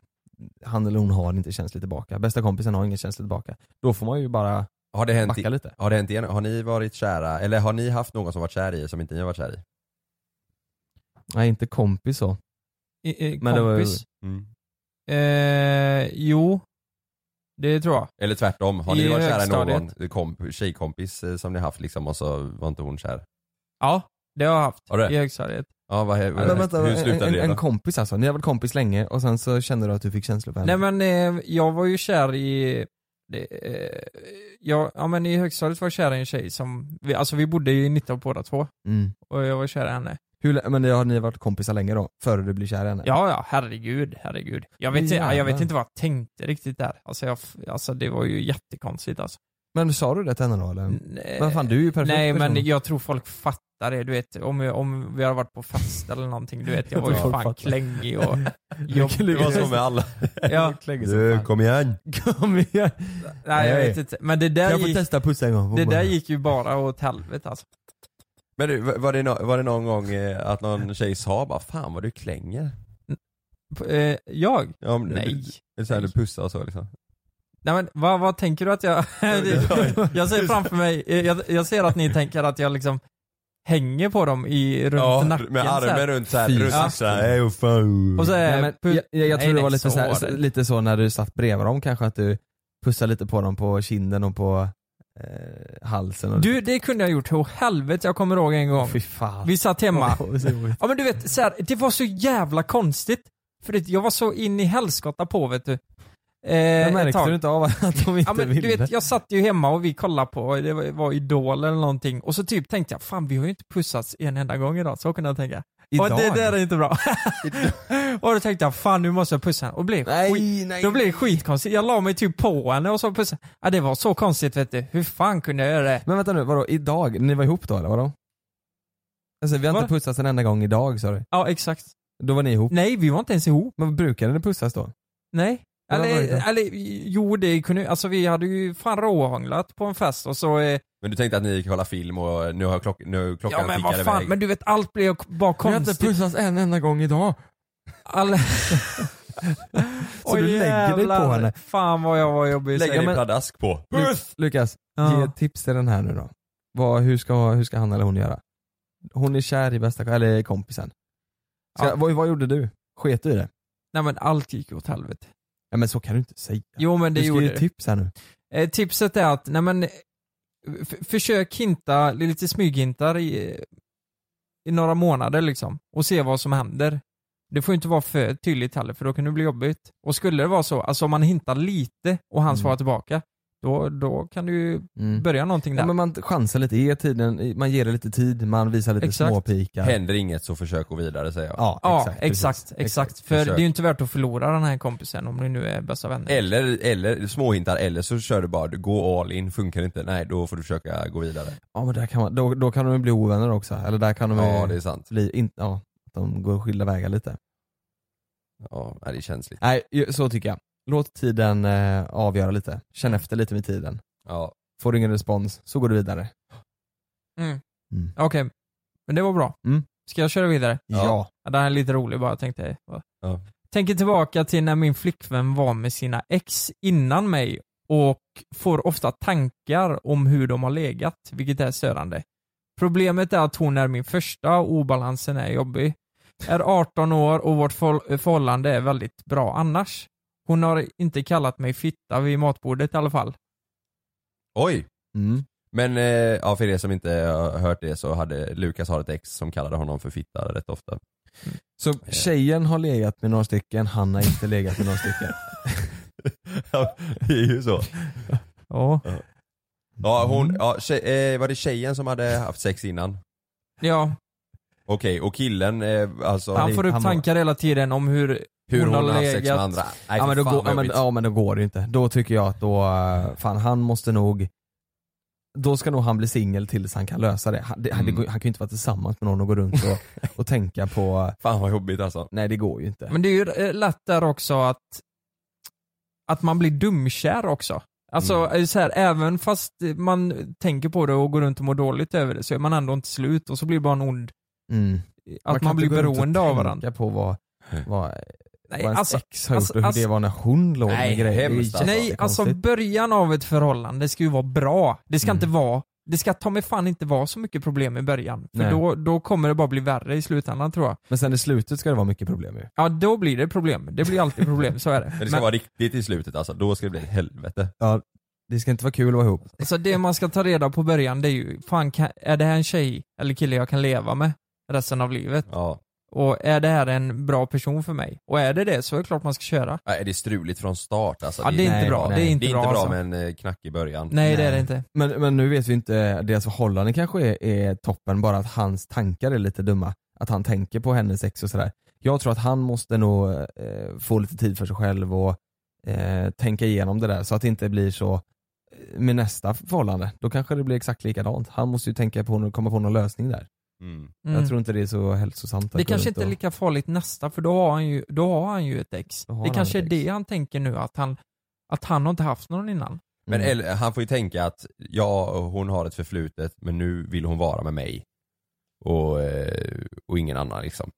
G: han eller hon har inte känsligt tillbaka. Bästa kompisen har ingen känsligt tillbaka. Då får man ju bara
E: Har det hänt,
G: backa lite.
E: Har det hänt igen? Har ni varit kära, eller har ni haft någon som varit kär i er som inte ni har varit kär i?
G: Nej, inte kompis så.
F: I, i,
G: Men det var ju-
F: kompis?
E: Mm.
F: Eh, jo, det tror jag.
E: Eller tvärtom, har
F: I
E: ni varit kära i
F: högstadiet.
E: någon eh, komp, tjejkompis eh, som ni haft liksom och så var inte hon kär?
F: Ja, det har jag haft.
E: Har du det?
F: I högstadiet.
E: Ja, vad, vad,
G: Men vänta,
E: hur slutade
G: en,
E: det
G: en,
E: då?
G: en kompis alltså, ni har varit kompis länge och sen så kände du att du fick känslor för henne?
F: Nej men eh, jag var ju kär i, det, eh, jag, ja men i högstadiet var jag kär i en tjej som, vi, alltså vi bodde ju i 19 båda två
G: Mm.
F: och jag var kär i henne.
G: Hur, lä- men det har ni varit kompisar länge då? Före du blir kär i henne?
F: Ja, ja, herregud, herregud. Jag vet,
G: Jävlar.
F: jag vet inte vad jag tänkte riktigt där. Alltså, jag, f- alltså det var ju jättekonstigt alltså.
G: Men sa du det till henne då eller?
F: Nej.
G: Men fan du är ju perfekt
F: Nej
G: person.
F: men jag tror folk fattar det, du vet om, jag- om vi har varit på fest eller någonting, du vet jag var ju
G: Folk
F: fan
G: fattar.
F: klängig och
G: Det var så med
E: alla.
F: ja.
G: Klängig som fan.
E: kom igen.
G: Kom igen.
F: Nej jag vet inte, men det där
G: Kan jag få
F: gick,
G: testa Oh pussa en gång?
F: det där gick ju bara åt helvete alltså.
E: Men du, var det, no, var det någon gång eh, att någon tjej sa bara 'Fan vad du klänger'
F: Eh, jag?
E: Ja, om-
F: Nej.
E: Eller såhär du pussar och så liksom.
F: Nej men vad, vad tänker du att jag... jag ser framför mig, eh, jag, jag ser att ni tänker att jag liksom hänger på dem i, runt
E: Ja,
F: nacken
E: med
F: så här.
E: armen runt såhär,
F: Fy
E: runt
F: fan.
E: axlarna. Ej, vad fan.
F: Och så är-
G: Nej, men, jag, jag, jag
F: Nej,
G: tror det
F: nej,
G: var lite
F: så
G: så, här,
F: var det.
G: lite så när du satt bredvid dem kanske att du pussade lite på dem på kinden och på eh, halsen och
F: Du, det kunde jag gjort. Åh helvete, jag kommer ihåg en gång.
G: Fy fan.
F: Vi Eh, satt hemma.
G: Åh, så jobbigt.
F: Ja men du vet, så här, det var så jävla konstigt. För det, jag var så in i helskotta på vet du. Eh,
G: Jag
F: ett
G: märkte
F: tag.
G: du inte av att de inte
F: Ja, men,
G: ville?
F: du vet, jag satt ju hemma och vi kollade på, det var, var Idol eller någonting, och så typ tänkte jag, fan vi har ju inte pussats en enda gång idag, så kunde jag tänka. Och
G: Idag?
F: det där är inte bra. och då tänkte jag, fan nu måste jag pussa henne. Och det blev
G: Nej,
F: skit,
G: nej,
F: då blev det skitkonstigt. Jag la mig typ på henne och så pussade ja, det var så konstigt vet du. Hur fan kunde jag göra det?
G: Men vänta nu, vadå idag? Ni var ihop då eller vadå? Alltså vi har inte
F: Va?
G: pussats en enda gång idag sa du?
F: Ja, exakt.
G: Då var ni ihop?
F: Nej, vi var inte ens ihop.
G: Men brukade ni pussas då?
F: Nej.
G: Eller vad
F: Eller,
G: var det då?
F: eller jo det kunde alltså vi hade ju fan råhånglat på en fest och så eh,
E: Men du tänkte att ni gick och kollade film och nu har klock, nu klockan
F: Ja men
E: tickar
F: vad fan,
E: iväg.
F: men du vet allt blev k- bara
G: Vi har inte
F: konstigt.
G: pussats en enda gång idag.
F: All...
G: Så du lägger dig på henne.
F: Fan vad jag var jobbig.
G: Lägger
F: säger
G: dig
F: jag.
E: pladask på.
G: Lu- Lukas,
F: Ja.
G: ge ett tips till den här nu då. Vad, hur, ska, hur ska han eller hon göra? Hon är kär i bästa eller kompisen. Ska,
F: Ja.
G: vad, vad gjorde du? Sket du i det?
F: Nej men allt gick åt helvete.
G: Ja, men så kan du inte säga.
F: Jo men det
G: du ska
F: gjorde
G: ge
F: det.
G: tips här nu.
F: Eh, tipset är att, nej men, eh, f- försök hinta, lite smyghintar i, eh, i några månader liksom. Och se vad som händer. Det får ju inte vara för tydligt heller för då kan det bli jobbigt. Och skulle det vara så, alltså om man hintar lite och han
G: Mm.
F: svarar tillbaka, då, då kan det ju
G: Mm.
F: börja någonting där.
G: Ja, men man chansar lite, ger tiden, man ger det lite tid, man visar lite
F: Exakt.
G: småpikar.
E: Händer inget så försök gå vidare säger jag.
G: Ja,
F: Ja,
G: exakt,
F: exakt,
G: precis.
F: exakt,
G: Exakt.
F: För
E: Försök.
F: det är ju inte värt att förlora den här kompisen om ni nu är bästa vänner.
G: Eh.
E: Eller, eller småhintar, eller så kör du bara, du går all in, funkar inte, nej då får du försöka gå vidare.
G: Ja men där kan man, då, då kan de ju bli ovänner också, eller där kan de ju
E: Ja det är sant.
G: bli, in, ja, att de går skilda vägar lite.
E: Ja, nej, det är känsligt.
G: Nej, ju- så tycker jag. Låt tiden eh, avgöra lite, känn efter lite med tiden.
E: Ja.
G: Får du ingen respons, så går du vidare.
F: Mm.
G: Mm.
F: Okej, men det var bra.
G: Mm.
F: Ska jag köra vidare?
G: Ja.
F: Den här är lite rolig bara, tänkte jag.
E: Ja.
F: Tänker tillbaka till när min flickvän var med sina ex innan mig och får ofta tankar om hur de har legat, vilket är störande. Problemet är att hon är min första och obalansen är jobbig. Är 18 år och vårt förhåll- förhållande är väldigt bra annars. Hon har inte kallat mig fitta vid matbordet i alla fall.
E: Oj!
G: Mm. Men eh, ja, för er som inte har hört det så hade Lukas har ett ex som kallade honom för fitta rätt ofta. Eh.
E: Så tjejen har legat med några stycken, han har inte legat med några stycken.
G: Ja, det är ju så.
E: Ja.
G: Ja,
E: Mm.
G: hon, ja, tje, eh, var det tjejen som hade haft sex innan?
F: Ja,
G: Okej, och killen, eh, alltså
F: han får upp
G: var-
F: tankar hela tiden om hur,
G: Hur hon har haft sex
F: legat.
G: med andra.
E: ja,
G: Nej, för
E: men då
G: fan,
E: går,
G: vad
E: ja, men,
G: jobbigt.
E: ja men då går det ju inte. Då tycker jag att då, eh, fan han måste nog då ska nog han bli singel tills han kan lösa det. Han, det, han- det
G: Mm.
E: går, han kan ju inte vara tillsammans med någon och gå runt och, och tänka på...
G: Fan vad jobbigt alltså.
E: Nej det går ju inte.
F: Men det är ju eh, lätt där också att, att man blir dumkär också. Alltså
E: Mm.
F: eh, så här, även fast man tänker på det och går runt och mår dåligt över det så är man ändå inte slut och så blir det bara en ond...
E: Mm.
F: Att man,
E: kan inte
F: blir
E: gå runt och
F: beroende av
E: tänka
F: varandra.
E: på vad, vad,
F: Nej,
E: vad ens
F: alltså-
E: ex har gjort
F: alltså-
E: och hur
F: alltså-
E: det var när hon låg med grejer. Det är
F: nej, nej alltså
E: jättekonstigt.
F: början av ett förhållande ska ju vara bra. Det
E: Mm.
F: ska inte vara, det ska ta mig fan inte vara så mycket problem i början. För
E: Nej.
F: då, då kommer det bara bli värre i slutändan tror jag.
E: Men sen i slutet ska det vara mycket problem ju.
F: Ja, då blir det problem. Det blir alltid problem, så är det.
G: Men det ska vara riktigt i slutet alltså, då ska det bli helvete.
E: Ja, det ska inte vara kul att vara ihop.
F: Alltså det man ska ta reda på i början det är ju, fan kan, är det här en tjej eller kille jag kan leva med resten av livet?
G: Ja.
F: Och är det här en bra person för mig? Och är det det så är det klart man ska köra.
G: Nej, det är struligt från start alltså.
F: Ja, det är inte Nej, bra. nej. Det är inte
G: det är
F: bra,
G: inte bra
F: alltså.
G: med en eh, knack i början.
F: Nej, det är det inte.
E: Men, men nu vet vi inte, deras förhållande kanske är, är toppen, bara att hans tankar är lite dumma. Att han tänker på hennes ex och sådär. Jag tror att han måste nog eh, få lite tid för sig själv och eh, tänka igenom det där så att det inte blir så eh, med nästa förhållande. Då kanske det blir exakt likadant. Han måste ju tänka på och komma på någon lösning där.
F: Mm.
E: Jag tror inte det är så hälsosamt. att
F: Det
E: gå runt
F: kanske inte är
E: och-
F: lika farligt nästa för då har han ju, då har han ju ett ex.
E: har
F: Det
E: han
F: kanske är
E: ett
F: det han tänker nu att han, att han har inte haft någon innan.
G: Men
E: Mm.
G: eller, han får ju tänka att ja, hon har ett förflutet men nu vill hon vara med mig. Och, eh, och ingen annan liksom.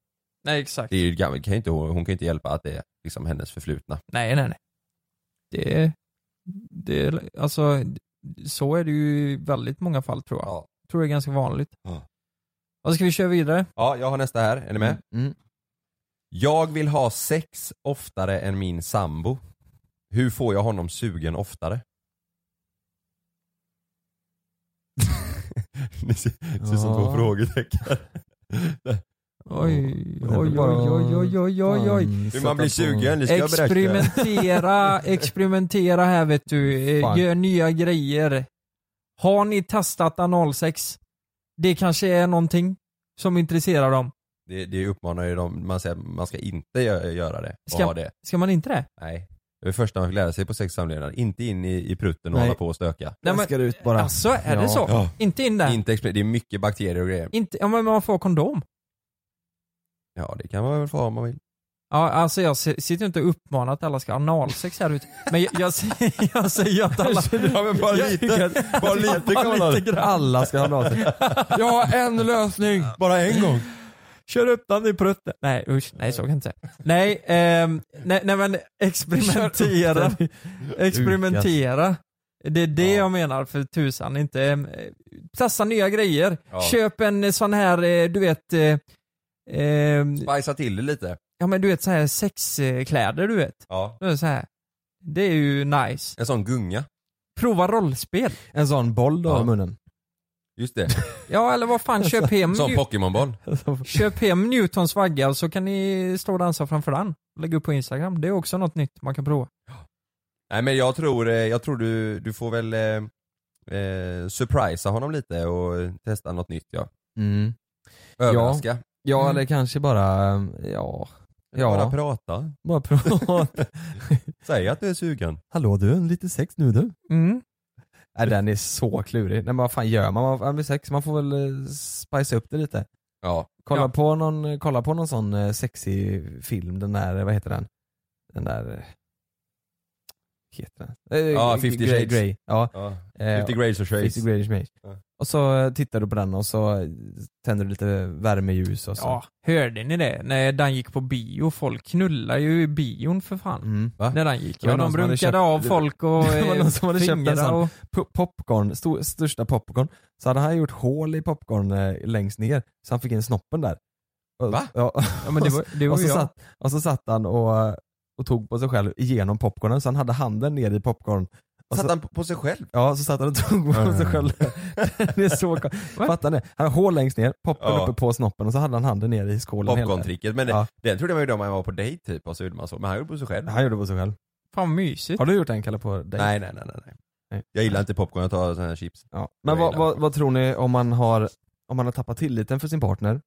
F: Nej exakt.
G: Det är ju gammalt, kan ju inte, hon hon kan ju inte hjälpa att det är liksom hennes förflutna.
F: Nej nej nej. Det, det, alltså så är det ju i väldigt många fall tror jag. Tror det är ganska vanligt.
G: Ja.
F: Vad ska vi köra vidare?
G: Ja, jag har nästa här. Är ni med?
F: Mm,
G: Jag vill ha sex oftare än min sambo. Hur får jag honom sugen oftare? Ni ser, ser ut som två
F: Ja.
G: frågetecken.
F: Oj, oj, oj, oj, oj, oj, oj, oj.
G: Hur man blir sugen, det ska jag berätta.
F: Experimentera, experimentera här vet du. Eh,
G: Fan.
F: Gör nya grejer. Har ni testat analsex? Det kanske är någonting som intresserar dem.
G: Det, det uppmanar ju dem, man säger att man ska inte gö- göra det och
F: Ska-
G: ha det.
F: Ska man inte det?
G: Nej. Det är det första man fick lära sig på sex och samlevnad, inte in i, i prutten och
F: Nej.
G: hålla på och stöka.
F: Nej, men- Plaskar ut bara. Alltså, är det så? Inte in där?
G: Inte exper- det är mycket bakterier och grejer.
F: Inte, ja men man får kondom.
G: Ja det kan man väl få ha om man vill.
F: Ja, alltså jag si- sitter ju inte och uppmanar att alla ska ha analsex här ute. Men jag, jag, säger- jag säger att alla...
G: Ja, men bara
F: Jag
G: lite.
F: tycker att-
G: Bara lite kan man ha det.
E: Alla ska ha analsex. Jag har en lösning.
G: Bara en gång.
F: Kör upp den i prutten. Nej usch, nej så kan jag inte säga. Nej, ehm, nej, nej men experimentera.
E: Kör upp
F: Experimentera. Det är det jag menar för tusan. Inte, eh, testa nya grejer.
G: Ja.
F: Köp en eh, sån här, eh, du vet, eh, ehm,
G: Spicea till det lite.
F: ja men du vet så här sexkläder du vet.
G: Ja.
F: Det är, så här. det är ju nice.
G: En sån gunga.
F: Prova rollspel.
E: En sån boll då i munnen.
G: Just det.
F: Ja eller vad
E: Alltså,
F: fan, köp hem,
G: Som
F: Newt-
G: Pokémonboll.
F: köp hem Newtons vagga och så kan ni stå och dansa framför den. Lägg upp på Instagram. Det är också något nytt man kan prova.
G: Nej men jag tror, eh, jag tror du, du får väl eh, eh, surprisa honom lite och testa något nytt ja.
E: Mm.
G: Överraska.
E: Ja, ja
F: Mm.
E: eller kanske bara, ja. ja.
G: Bara prata.
E: Bara prata.
G: Säg att du är sugen.
E: Hallå du, en lite sex nu du.
F: Mm.
E: Nej, den är så klurig. Nej, men vad fan gör man? Man- man blir sex, man får väl eh, spicea upp det lite.
G: Ja.
E: Kolla, På någon, kolla på någon sån eh, sexig film, den där, vad heter den? Den där... eh, Heter den? Eh,
G: Ja,
E: G-
G: 50
E: Grey-
G: Shades.
E: Grey, Ja.
G: Ja.
E: Eh,
G: 50 Grades of Shades.
E: 50 Grades of Shades.
G: Ja.
E: Och så eh, tittar du på den och så eh, tänder du lite värmeljus och så.
F: Ja, hörde ni det? När den gick på bio, folk knullade ju i bion för fan. När den gick.
E: Mm. Det var
F: Ja,
E: någon
F: de
E: som hade
F: brunkade
E: köpt-
F: av folk och
E: Det var någon som hade köpt en
F: fingrar
E: sån
F: och...
E: po- popcorn, stor, största popcorn. Så hade han gjort hål i popcorn eh, längst ner, så han fick in snoppen där. Och,
F: Va?
E: Ja,
F: Ja, men det var- det var
E: och, så
F: jag.
E: satt, och så satt han och, och tog på sig själv genom popcornen, så han hade handen ner i popcorn
G: Satt han på- på sig själv?
E: Ja, så satt han och tog på sig själv. det är så kon- Fattar ni? Han har hål längst ner, poppen
G: Ja.
E: uppe på snoppen och så hade han handen nere i skålen hela-
G: Popcorn-tricket, men
E: Ja.
G: det, den trodde jag var ju då man var på dejt typ och så gjorde man så, men han gjorde på sig själv.
E: Han gjorde på sig själv.
F: Fan mysigt.
E: Har du gjort den Kalle på dig?
G: Nej, nej, nej, nej, nej. Jag gillar inte popcorn, jag tar sådana här chips.
E: Ja. Men vad, vad, vad tror ni om man har, om man har tappat tilliten för sin partner?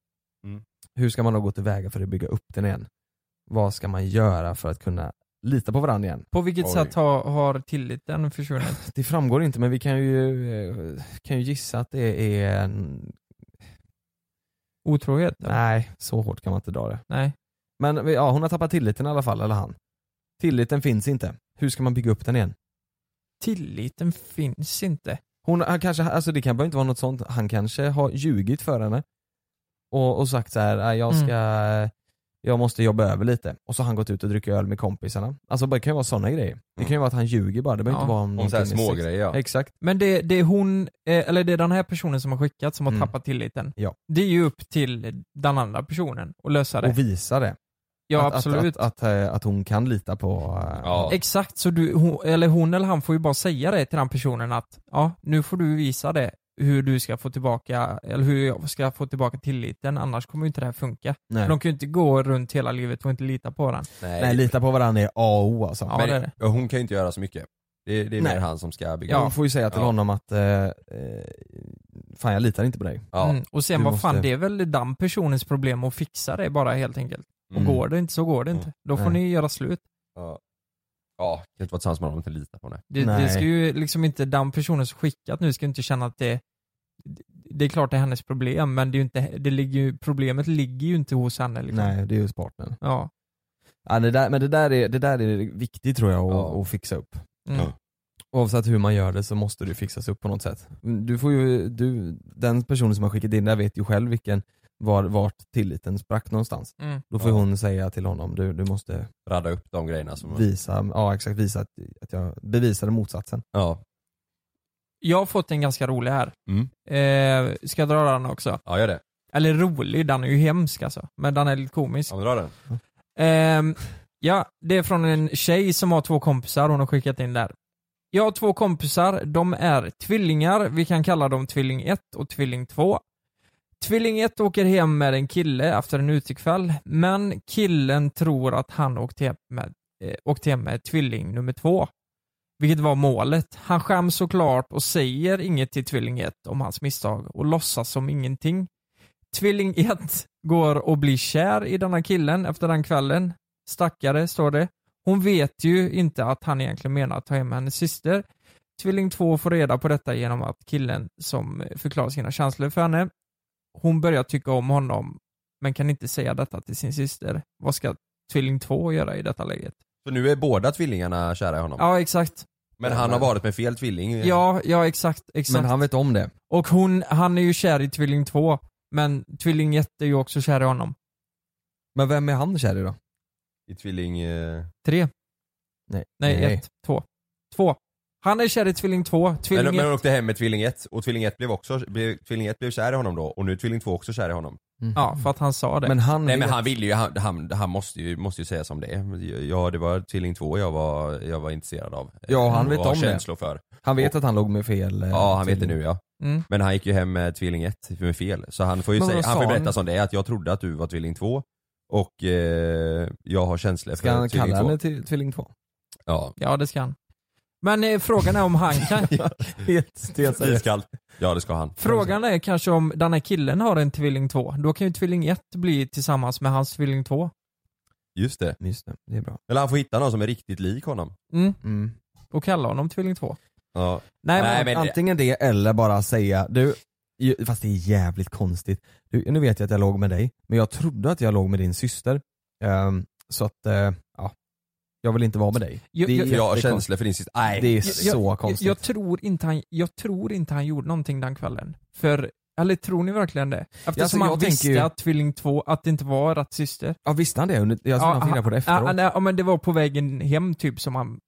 G: Mm.
E: Hur ska man då gå tillväga för att bygga upp den igen? Vad ska man göra för att kunna lita på varandra igen?
F: På vilket
E: Oj.
F: sätt har, har tilliten försvunnit?
E: Det framgår inte men vi kan ju, eh, kan ju gissa att det är en...
F: Otrohet?
E: Nej, så hårt kan man inte dra det.
F: Nej.
E: Men vi- ja, hon har tappat tilliten i alla fall, eller han. Tilliten finns inte. Hur ska man bygga upp den igen?
F: Tilliten finns inte.
E: Hon, han kanske, alltså det kan bara inte vara något sånt. Han kanske har ljugit för henne. Och, och sagt så här, "Nej, jag
F: Mm.
E: ska, jag måste jobba över lite. Och så har han gått ut och druckit öl med kompisarna. Alltså det kan ju vara sådana grejer. Det kan ju vara att han ljuger bara, det behöver
F: Mm. Ja.
E: inte vara
F: Om
E: om
F: så här
E: någonting med
F: små
E: sex.
F: grejer, ja.
E: Exakt.
F: Men det, det är hon, eh, eller det är den här personen som har skickat som har
E: Mm.
F: tappat tilliten.
E: Ja.
F: Det är ju upp till den andra personen att lösa det.
E: Och visa det.
F: Ja,
E: att, Att,
F: absolut.
E: att, att, eh, att hon kan lita på... eh,
F: Exakt, så du, hon, eller hon eller han får ju bara säga det till den personen att ja, nu får du visa det hur du ska få tillbaka, eller hur jag ska få tillbaka tilliten, annars kommer ju inte det här funka.
E: Nej.
F: För de kan ju inte gå runt hela livet och inte lita på den.
E: Nej, lita på varandra är A och O alltså.
G: men, ja, Hon kan ju inte göra så mycket. Det, det är
E: Nej.
G: mer han som ska bygga
E: Ja.
G: upp.
E: Hon får ju säga till
G: Ja.
E: honom att eh, eh, fan jag litar inte på dig.
F: Mm. Och sen
E: Du
F: vad fan,
E: måste-
F: det är väl den personens problem att fixa det bara helt enkelt. Och
E: Mm.
F: går det inte så går det inte. Då får
G: Nej.
F: ni göra slut.
G: Ja. ja, kan inte vara tillsammans med honom och inte lita på henne.
F: Det, det ska ju liksom inte, den personen som skickat nu ska ju inte känna att det det är klart det är hennes problem, men det är ju inte, det ligger ju, problemet ligger ju inte hos henne. Liksom.
E: Nej, det är ju partnern.
F: Ja.
E: Ja, det där, men det där, är, det där är viktigt tror jag att, att fixa upp.
F: Mm. Ja.
E: Oavsett hur man gör det så måste det fixas upp på något sätt. Du får ju, du, den personen som har skickat in det här vet ju själv vilken, var, vart tilliten sprack någonstans.
F: Mm.
E: Då får
G: Ja.
E: hon säga till honom, du, du måste
G: Radda upp de grejerna som...
E: visa, ja exakt, visa att, att jag bevisade motsatsen.
G: Ja.
F: Jag har fått en ganska rolig här.
G: Mm.
F: Eh, ska jag dra den också?
G: Ja, gör det.
F: Eller rolig, den är ju hemsk alltså. Men den är lite komisk.
G: Ja, men dra den.
F: Ehm, ja, det är från en tjej som har två kompisar hon har skickat in där. Jag har två kompisar, de är tvillingar, vi kan kalla dem tvilling 1 och tvilling 2. Tvilling 1 åker hem med en kille efter en utekväll, men killen tror att han åkte hem med, eh, åkte hem med tvilling nummer 2. Vilket var målet. Han skäms såklart och säger inget till tvilling 1 om hans misstag och låtsas som ingenting. Tvilling 1 går och blir kär i denna killen efter den kvällen. Stackare, står det. Hon vet ju inte att han egentligen menar att ta hem hennes syster. Tvilling 2 får reda på detta genom att killen som förklarar sina känslor för henne. Hon börjar tycka om honom men kan inte säga detta till sin syster. Vad ska tvilling 2 göra i detta läget?
G: Så nu är båda tvillingarna kära i honom.
F: Ja, exakt.
G: Men han har varit med fel tvilling.
F: Ja, ja exakt, exakt.
E: Men han vet om det.
F: Och hon, han är ju kär i tvilling 2, men tvilling 1 är ju också kär i honom.
E: Men vem är han kär i då?
G: I tvilling... Eh...
F: Tre.
E: Nej,
F: Nej, ett, två. Två. Han är kär i tvilling två,
G: Men,
F: tvilling
G: men hon
F: ett.
G: åkte hem med tvilling 1 och tvilling 1 blev också, blev, tvilling 1 blev kär i honom då och nu är tvilling 2 också kär i honom.
F: Ja, för att han sa det.
G: Nej men han ville ju, han, han, han måste ju, måste ju säga som det är. Ja det var tvilling 2 jag var, jag var intresserad av.
E: Ja, han
G: Och
E: vet
G: har
E: om det.
G: känslor för.
E: Han vet att han låg med fel eh,
G: Ja han vet det
E: tvilling.
G: nu ja.
F: Mm.
G: Men han gick ju hem med tvilling 1 med fel. Så han får ju
E: Men
G: säga,
E: vad
G: han får
E: sa
G: ju berätta
E: han?
G: som det är att jag trodde att du var tvilling 2 och eh, jag har känslor
E: Ska
G: för
E: han
G: tvilling
E: kalla
G: 2.
E: henne till tvilling 2?
G: Ja.
F: Ja, det ska han. Men eh, frågan är om han kan...
E: Helt stenseriöst.
G: Iskallt. Ja det ska han.
F: frågan är kanske om den här killen har en tvilling 2. Då kan ju tvilling 1 bli tillsammans med hans tvilling 2.
G: Just det.
E: Just det, det är bra.
G: Eller han får hitta någon som är riktigt lik honom.
F: Mm. Och kalla honom tvilling 2.
G: Ja.
F: Nej, men-
E: Antingen det eller bara säga, du, ju- fast det är jävligt konstigt. Du, nu vet jag att jag låg med dig, men jag trodde att jag låg med din syster. Ehm, så att, eh, ja, jag vill inte vara med dig.
F: Jag-
E: Det är
F: jag-
G: Jag har
E: jättekonstigt.
G: känslor för din syster. Nej.
E: Det är
F: Jag-
E: så
F: jag,
E: konstigt.
F: Jag, jag, tror inte han, jag tror inte han gjorde någonting den kvällen. För, eller tror ni verkligen det? Eftersom
E: Alltså,
F: han
E: jag tänker
F: visste
E: ju-
F: att tvilling 2, att det inte var rätt syster.
E: Ja visste han det? Under- Jag tror han fick reda på det
F: ja,
E: efteråt.
F: han- ja, men det var på vägen hem typ som han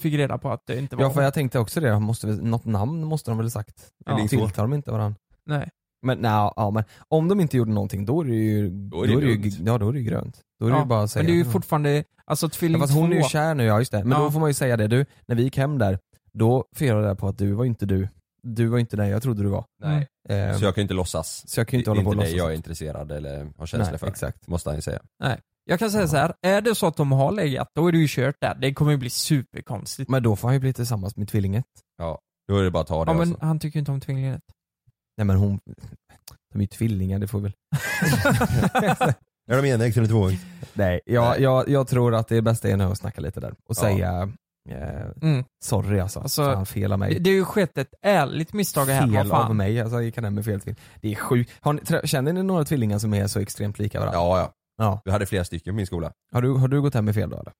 F: fick reda på att det inte var
E: ja för jag tänkte också det, han måste, väl- något namn måste de väl ha sagt?
F: Ja.
E: Ja. Tilltar de inte varandra?
F: Nej.
E: Men, nej, ja, men om de inte gjorde någonting då är det ju, då
F: är
E: är
F: det
E: det ju,
F: lugnt.
E: ja, då är det ju grönt. Då är det
F: Ja,
E: ju bara att säga
F: Men det är ju
E: till honom.
F: fortfarande, alltså
E: Ja,
F: tvilling
E: fast hon är ju
F: två-
E: kär nu, ja just det. Men
F: Ja.
E: då får man ju säga det, du, när vi gick hem där, Då får jag reda på att du var inte du. Du var inte den jag trodde du var.
G: Nej.
E: Eh,
G: Så jag kan ju inte låtsas.
E: Så jag kan ju inte
G: Det
E: hålla
G: är
E: på och
G: inte det
E: låtsas.
G: jag är intresserad eller har känslor
E: Nej,
G: för. Exakt. Måste han ju säga.
F: Nej. Jag kan säga så här, är det så att de har legat, då är det ju kört där. Det kommer ju bli superkonstigt.
E: Men då får han ju bli tillsammans med tvillinget.
G: Ja, då är det bara att ta det
F: Ja, men
G: alltså.
F: han tycker ju inte om tvillinget.
E: Nej men hon, de är ju tvillingar, det får väl...
G: Är de enäggs eller tvåäggs?
E: Nej, jag, jag, jag tror att det bästa är nu att snacka lite där och
F: Ja.
E: säga eh,
F: Mm.
E: sorry alltså,
F: Alltså,
E: fan fel av
F: Det,
E: mig.
F: det är ju skett ett ärligt misstag här. vad
E: fel
F: fan.
E: av mig, alltså jag gick hem med fel tvilling. Det är sjukt. Har ni, trä- känner ni några tvillingar som är så extremt lika varandra?
G: Ja, ja.
E: ja.
G: Vi hade flera stycken på min skola.
E: Har, du, har du gått hem med fel då eller?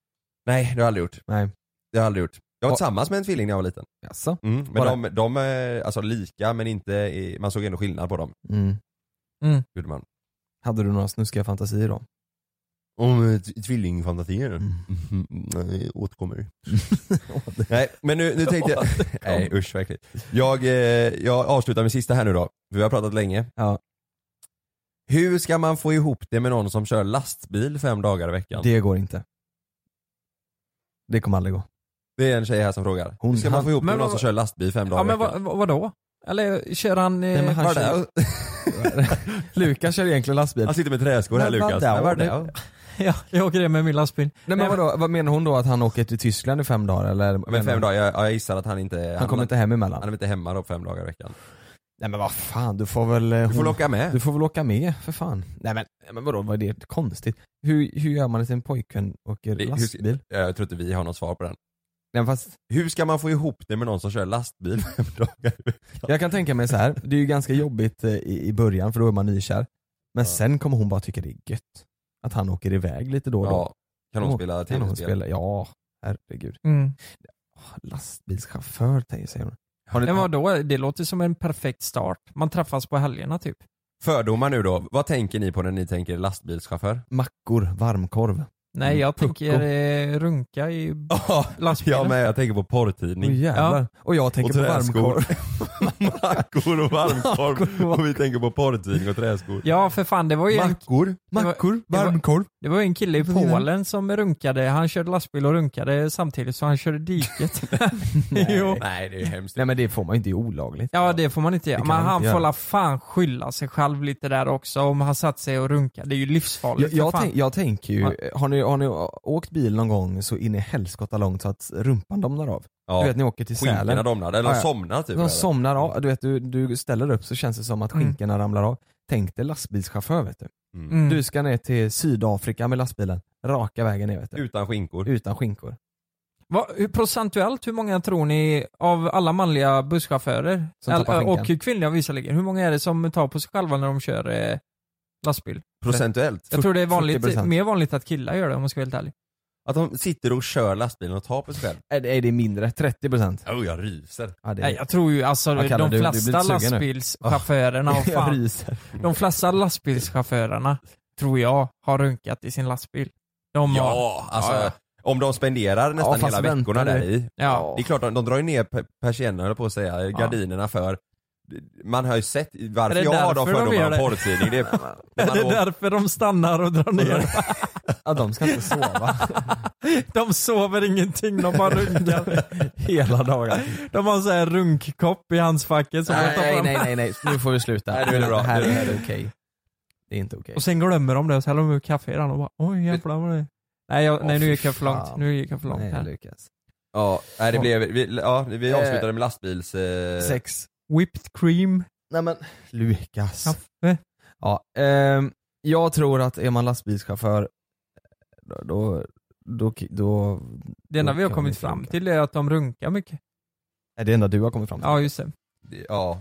G: Nej, det har jag aldrig gjort.
E: Nej.
G: Det har jag aldrig gjort. Jag var
E: Och-
G: tillsammans med en tvilling när jag var liten.
E: Jaså?
G: Mm, men
E: Var
G: de, de, eh, alltså lika men inte, i- man såg ändå skillnad på dem.
E: Mm.
G: Gjorde man.
E: Hade du några snuskiga fantasier då?
G: Om eh, tvillingfantasier? Mm. återkommer. Nej, men nu, nu tänkte jag... Nej usch vad äckligt. jag, eh, jag avslutar med sista här nu då, för vi har pratat länge. Hur ska man få ihop det med någon som kör lastbil fem dagar i veckan?
E: Det går inte. Det kommer aldrig gå.
G: Det är en tjej här som frågar. Hur ska man
E: han-
G: få ihop det
E: Men
G: med någon
E: vad-
G: som kör lastbil fem
F: Ja
G: dagar i
F: men
G: veckan?
F: vad, vad, vadå? Eller kör han... Eh,
E: Nej, men han
F: vad är
E: kör-
F: det?
E: Lukas kör egentligen lastbil.
G: Han sitter med träskor här
E: Men
G: Lukas.
E: vadå?
G: Men vadå?
F: Ja, jag åker det med min lastbil.
E: Nej men vadå, vad menar hon då att han åker till Tyskland i fem dagar eller?
G: Men fem dagar, jag, jag gissar att han inte...
E: Han kommer inte hem emellan?
G: Han är inte hemma då fem dagar i veckan.
E: Nej men vad fan, du får väl... Du
G: får väl åka med.
E: Du får väl åka med, för fan. Nej men, nej, men vadå, vad är det konstigt? Hur, hur gör man när sin pojkvän åker
G: Det- hur-
E: lastbil?
G: Jag tror inte vi har något svar på den.
E: Nej, fast...
G: Hur ska man få ihop det med någon som kör lastbil fem dagar i veckan?
E: Jag kan tänka mig så här. det är ju ganska jobbigt eh, i, i början för då är man nykär. Men sen kommer hon bara tycka det är gött. Att han åker iväg lite då och då.
G: Ja. Kan hon spela
E: Kan hon
G: tv-spel?
E: spela? Ja, herregud.
F: Mm.
E: Åh, Lastbilschaufför tänker säger hon.
F: Men vadå? Det låter som en perfekt start. Man träffas på helgerna typ.
G: Fördomar nu då, vad tänker ni på när ni tänker lastbilschaufför?
E: Mackor, varmkorv.
F: Nej, jag tänker eh, runka i lastbilen.
G: Jag med, jag tänker på porrtidning.
E: Åh, jävlar. Och jag tänker på
G: träskor.
E: varmkorv.
G: Mackor och varmkorv. och vi tänker på porrtidning och träskor.
F: Ja, för fan. Det var ju en,
G: Mackor,
E: mackor, varmkorv.
F: det var ju en kille i
E: Vad är det?
F: Polen som runkade. Han körde lastbil och runkade samtidigt så han körde diket. jo.
G: Nej det är ju hemskt.
E: Nej men det får man ju inte, det är olagligt.
F: Ja, det får man inte göra.
E: kan
F: Men
E: man
F: han
E: inte
F: får
E: göra.
F: la fan skylla sig själv lite där också om han satt sig och runkade. Det är ju
E: Jag,
F: livsfarligt.
E: jag,
F: för fan.
E: tänk, jag tänker ju, har ni, har ni åkt bil någon gång så in i helskotta långt så att rumpan domnar av?
G: Ja.
E: Du vet ni åker till
G: Skinkorna
E: Sälen.
G: domnar, eller de
E: Ja, ja.
G: somnar typ,
E: De
G: eller?
E: somnar av, du vet du, du ställer upp så känns det som att
F: Mm.
E: skinkorna ramlar av. Tänk dig lastbilschaufför vet du.
G: Mm.
E: Du ska ner till Sydafrika med lastbilen, raka vägen ner vet du.
G: Utan skinkor.
E: Utan skinkor.
F: Vad- hur procentuellt, hur många tror ni av alla manliga busschaufförer
E: Som tappar
F: eller-
E: skinkan.
F: och kvinnliga visserligen, hur många är det som tar på sig själva när de kör eh, lastbil?
G: Procentuellt.
F: Jag tror det är vanligt,
G: 40%.
F: mer vanligt att killar gör det om man ska vara helt ärlig.
G: Att de sitter och kör lastbilen och tar på sig själv.
E: Nej det är det mindre, 30%.
G: Oh, jag ryser.
E: Ja, det är-
F: Nej, jag tror ju alltså
E: Ja, Kalle,
F: de
E: du- du blir
F: flesta
E: lite sugen nu.
F: lastbilschaufförerna,
E: Ja.
F: och
E: Jag
F: fan,
E: ryser.
F: de flesta lastbilschaufförerna tror jag har runkat i sin lastbil. De
G: Ja,
F: har,
G: alltså
F: Ja,
G: om de spenderar nästan
E: Ja, fast
G: hela veckorna
E: vänta
G: där
E: nu.
G: i.
F: Ja.
G: Det är klart, de, de drar ju ner pe- persiennerna höll på att säga, gardinerna för. Man har ju sett varför
F: Är det
G: jag har de
F: därför de
G: fördomarna
F: gör
G: om
F: det?
G: porrtidning. Det är,
F: ja.
G: man
F: Det är
G: åker-
F: därför de stannar och drar ner.
E: Ja, de ska inte sova
F: De sover ingenting, de bara runkar.
E: hela dagen.
F: De har så här runkkopp i handskfacket som de tar
E: Nej,
F: fram.
E: nej, nej, nej, nu får vi sluta.
G: Nej, nu är det bra.
E: här
G: Nu är det
E: är det okej. Det är inte okej.
F: Och sen glömmer de det och så häller de ut kaffe i den och bara oj jävlar vad det Nej, jag,
E: Åh,
F: nej nu
E: fy
F: gick jag för långt.
E: fan.
F: Nu gick jag för långt
E: Nej,
F: här.
E: Lukas.
G: Ja, nej, det blev, vi, ja, vi
E: Eh,
G: avslutade med lastbils... Eh,
E: Sex.
F: Whipped cream,
E: Nej men Lukas.
F: kaffe.
E: Ja, ehm, jag tror att är man lastbilschaufför då, då, då, då
F: Det enda
E: då
F: vi har
E: kan
F: kommit
E: inte
F: fram
E: runka.
F: till är att de runkar mycket.
E: Är det enda du har kommit fram till?
F: Ja just det.
G: Ja.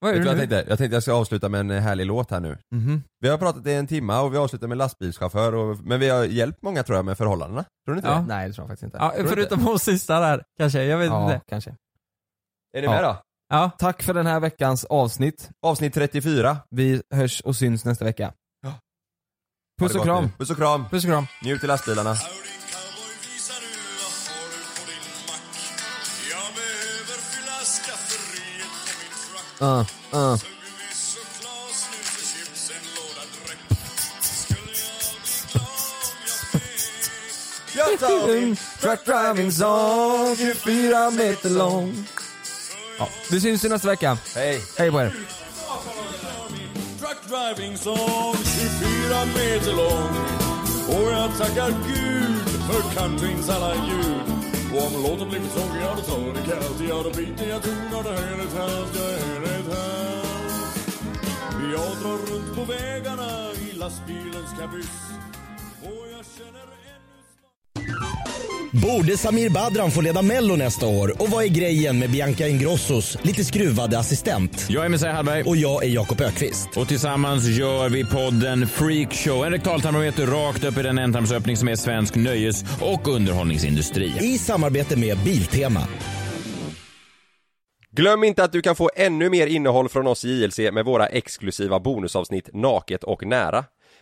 F: Vad
G: Vet
F: är
G: du vad
F: det
G: jag
F: nu?
G: tänkte? Jag tänkte jag ska avsluta med en härlig låt här nu.
E: Mhm.
G: Vi har pratat i en timme och vi avslutar med lastbilschaufför och, men vi har hjälpt många tror jag med förhållandena. Tror ni inte
F: Ja.
G: det?
E: Nej det tror jag faktiskt inte.
F: Ja,
G: du
F: förutom hon sista där kanske, jag vet
E: Ja,
F: inte.
E: kanske.
G: Är ni
E: Ja.
G: med då?
F: Ja,
E: Tack för den här veckans avsnitt.
G: Avsnitt 34. Ha
E: Vi hörs och syns nästa vecka.
G: det
E: Puss och
G: gott
E: kram.
G: nu. Puss och kram.
F: puss och kram.
G: Njut i lastbilarna.
E: Uh, uh.
G: Jag tar min
M: truck driving song, 24 meter lång. Ja, vi syns ju nästa vecka.
G: Hej.
M: Hej på er.
F: Truck driving song 24 meter lång Och jag tackar Gud för countryns alla ljud Och om låten blivit tråkig, ja då tar det kallt Ja då byter jag ton och då höjer ett halvt, jag höjer ett halvt Jag drar runt på vägarna i lastbilens kabyss Och jag känner
E: Borde Samir Badran få leda Mello nästa år? Och vad är grejen med Bianca Ingrossos lite skruvade assistent?
I: Jag är Messiah Hallberg.
E: Och jag är Jakob Ökvist.
I: Och tillsammans gör vi podden Freakshow. En rektaltarmometer rakt upp i den ändtarmsöppning som är svensk nöjes och underhållningsindustri.
E: I samarbete med Biltema.
G: Glöm inte att du kan få ännu mer innehåll från oss i JLC med våra exklusiva bonusavsnitt Naket och nära.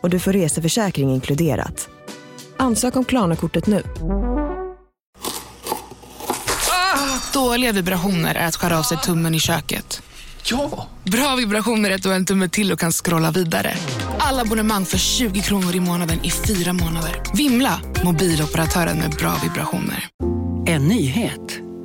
A: och du får reseförsäkring inkluderat. Ansök om Klarna-kortet nu.
N: Dåliga vibrationer är att skära av sig tummen i köket. Ja! Bra vibrationer är att du har en tumme till och kan scrolla vidare. Alla abonnemang för 20 kronor i månaden i fyra månader. Vimla! Mobiloperatören med bra vibrationer.
O: En nyhet.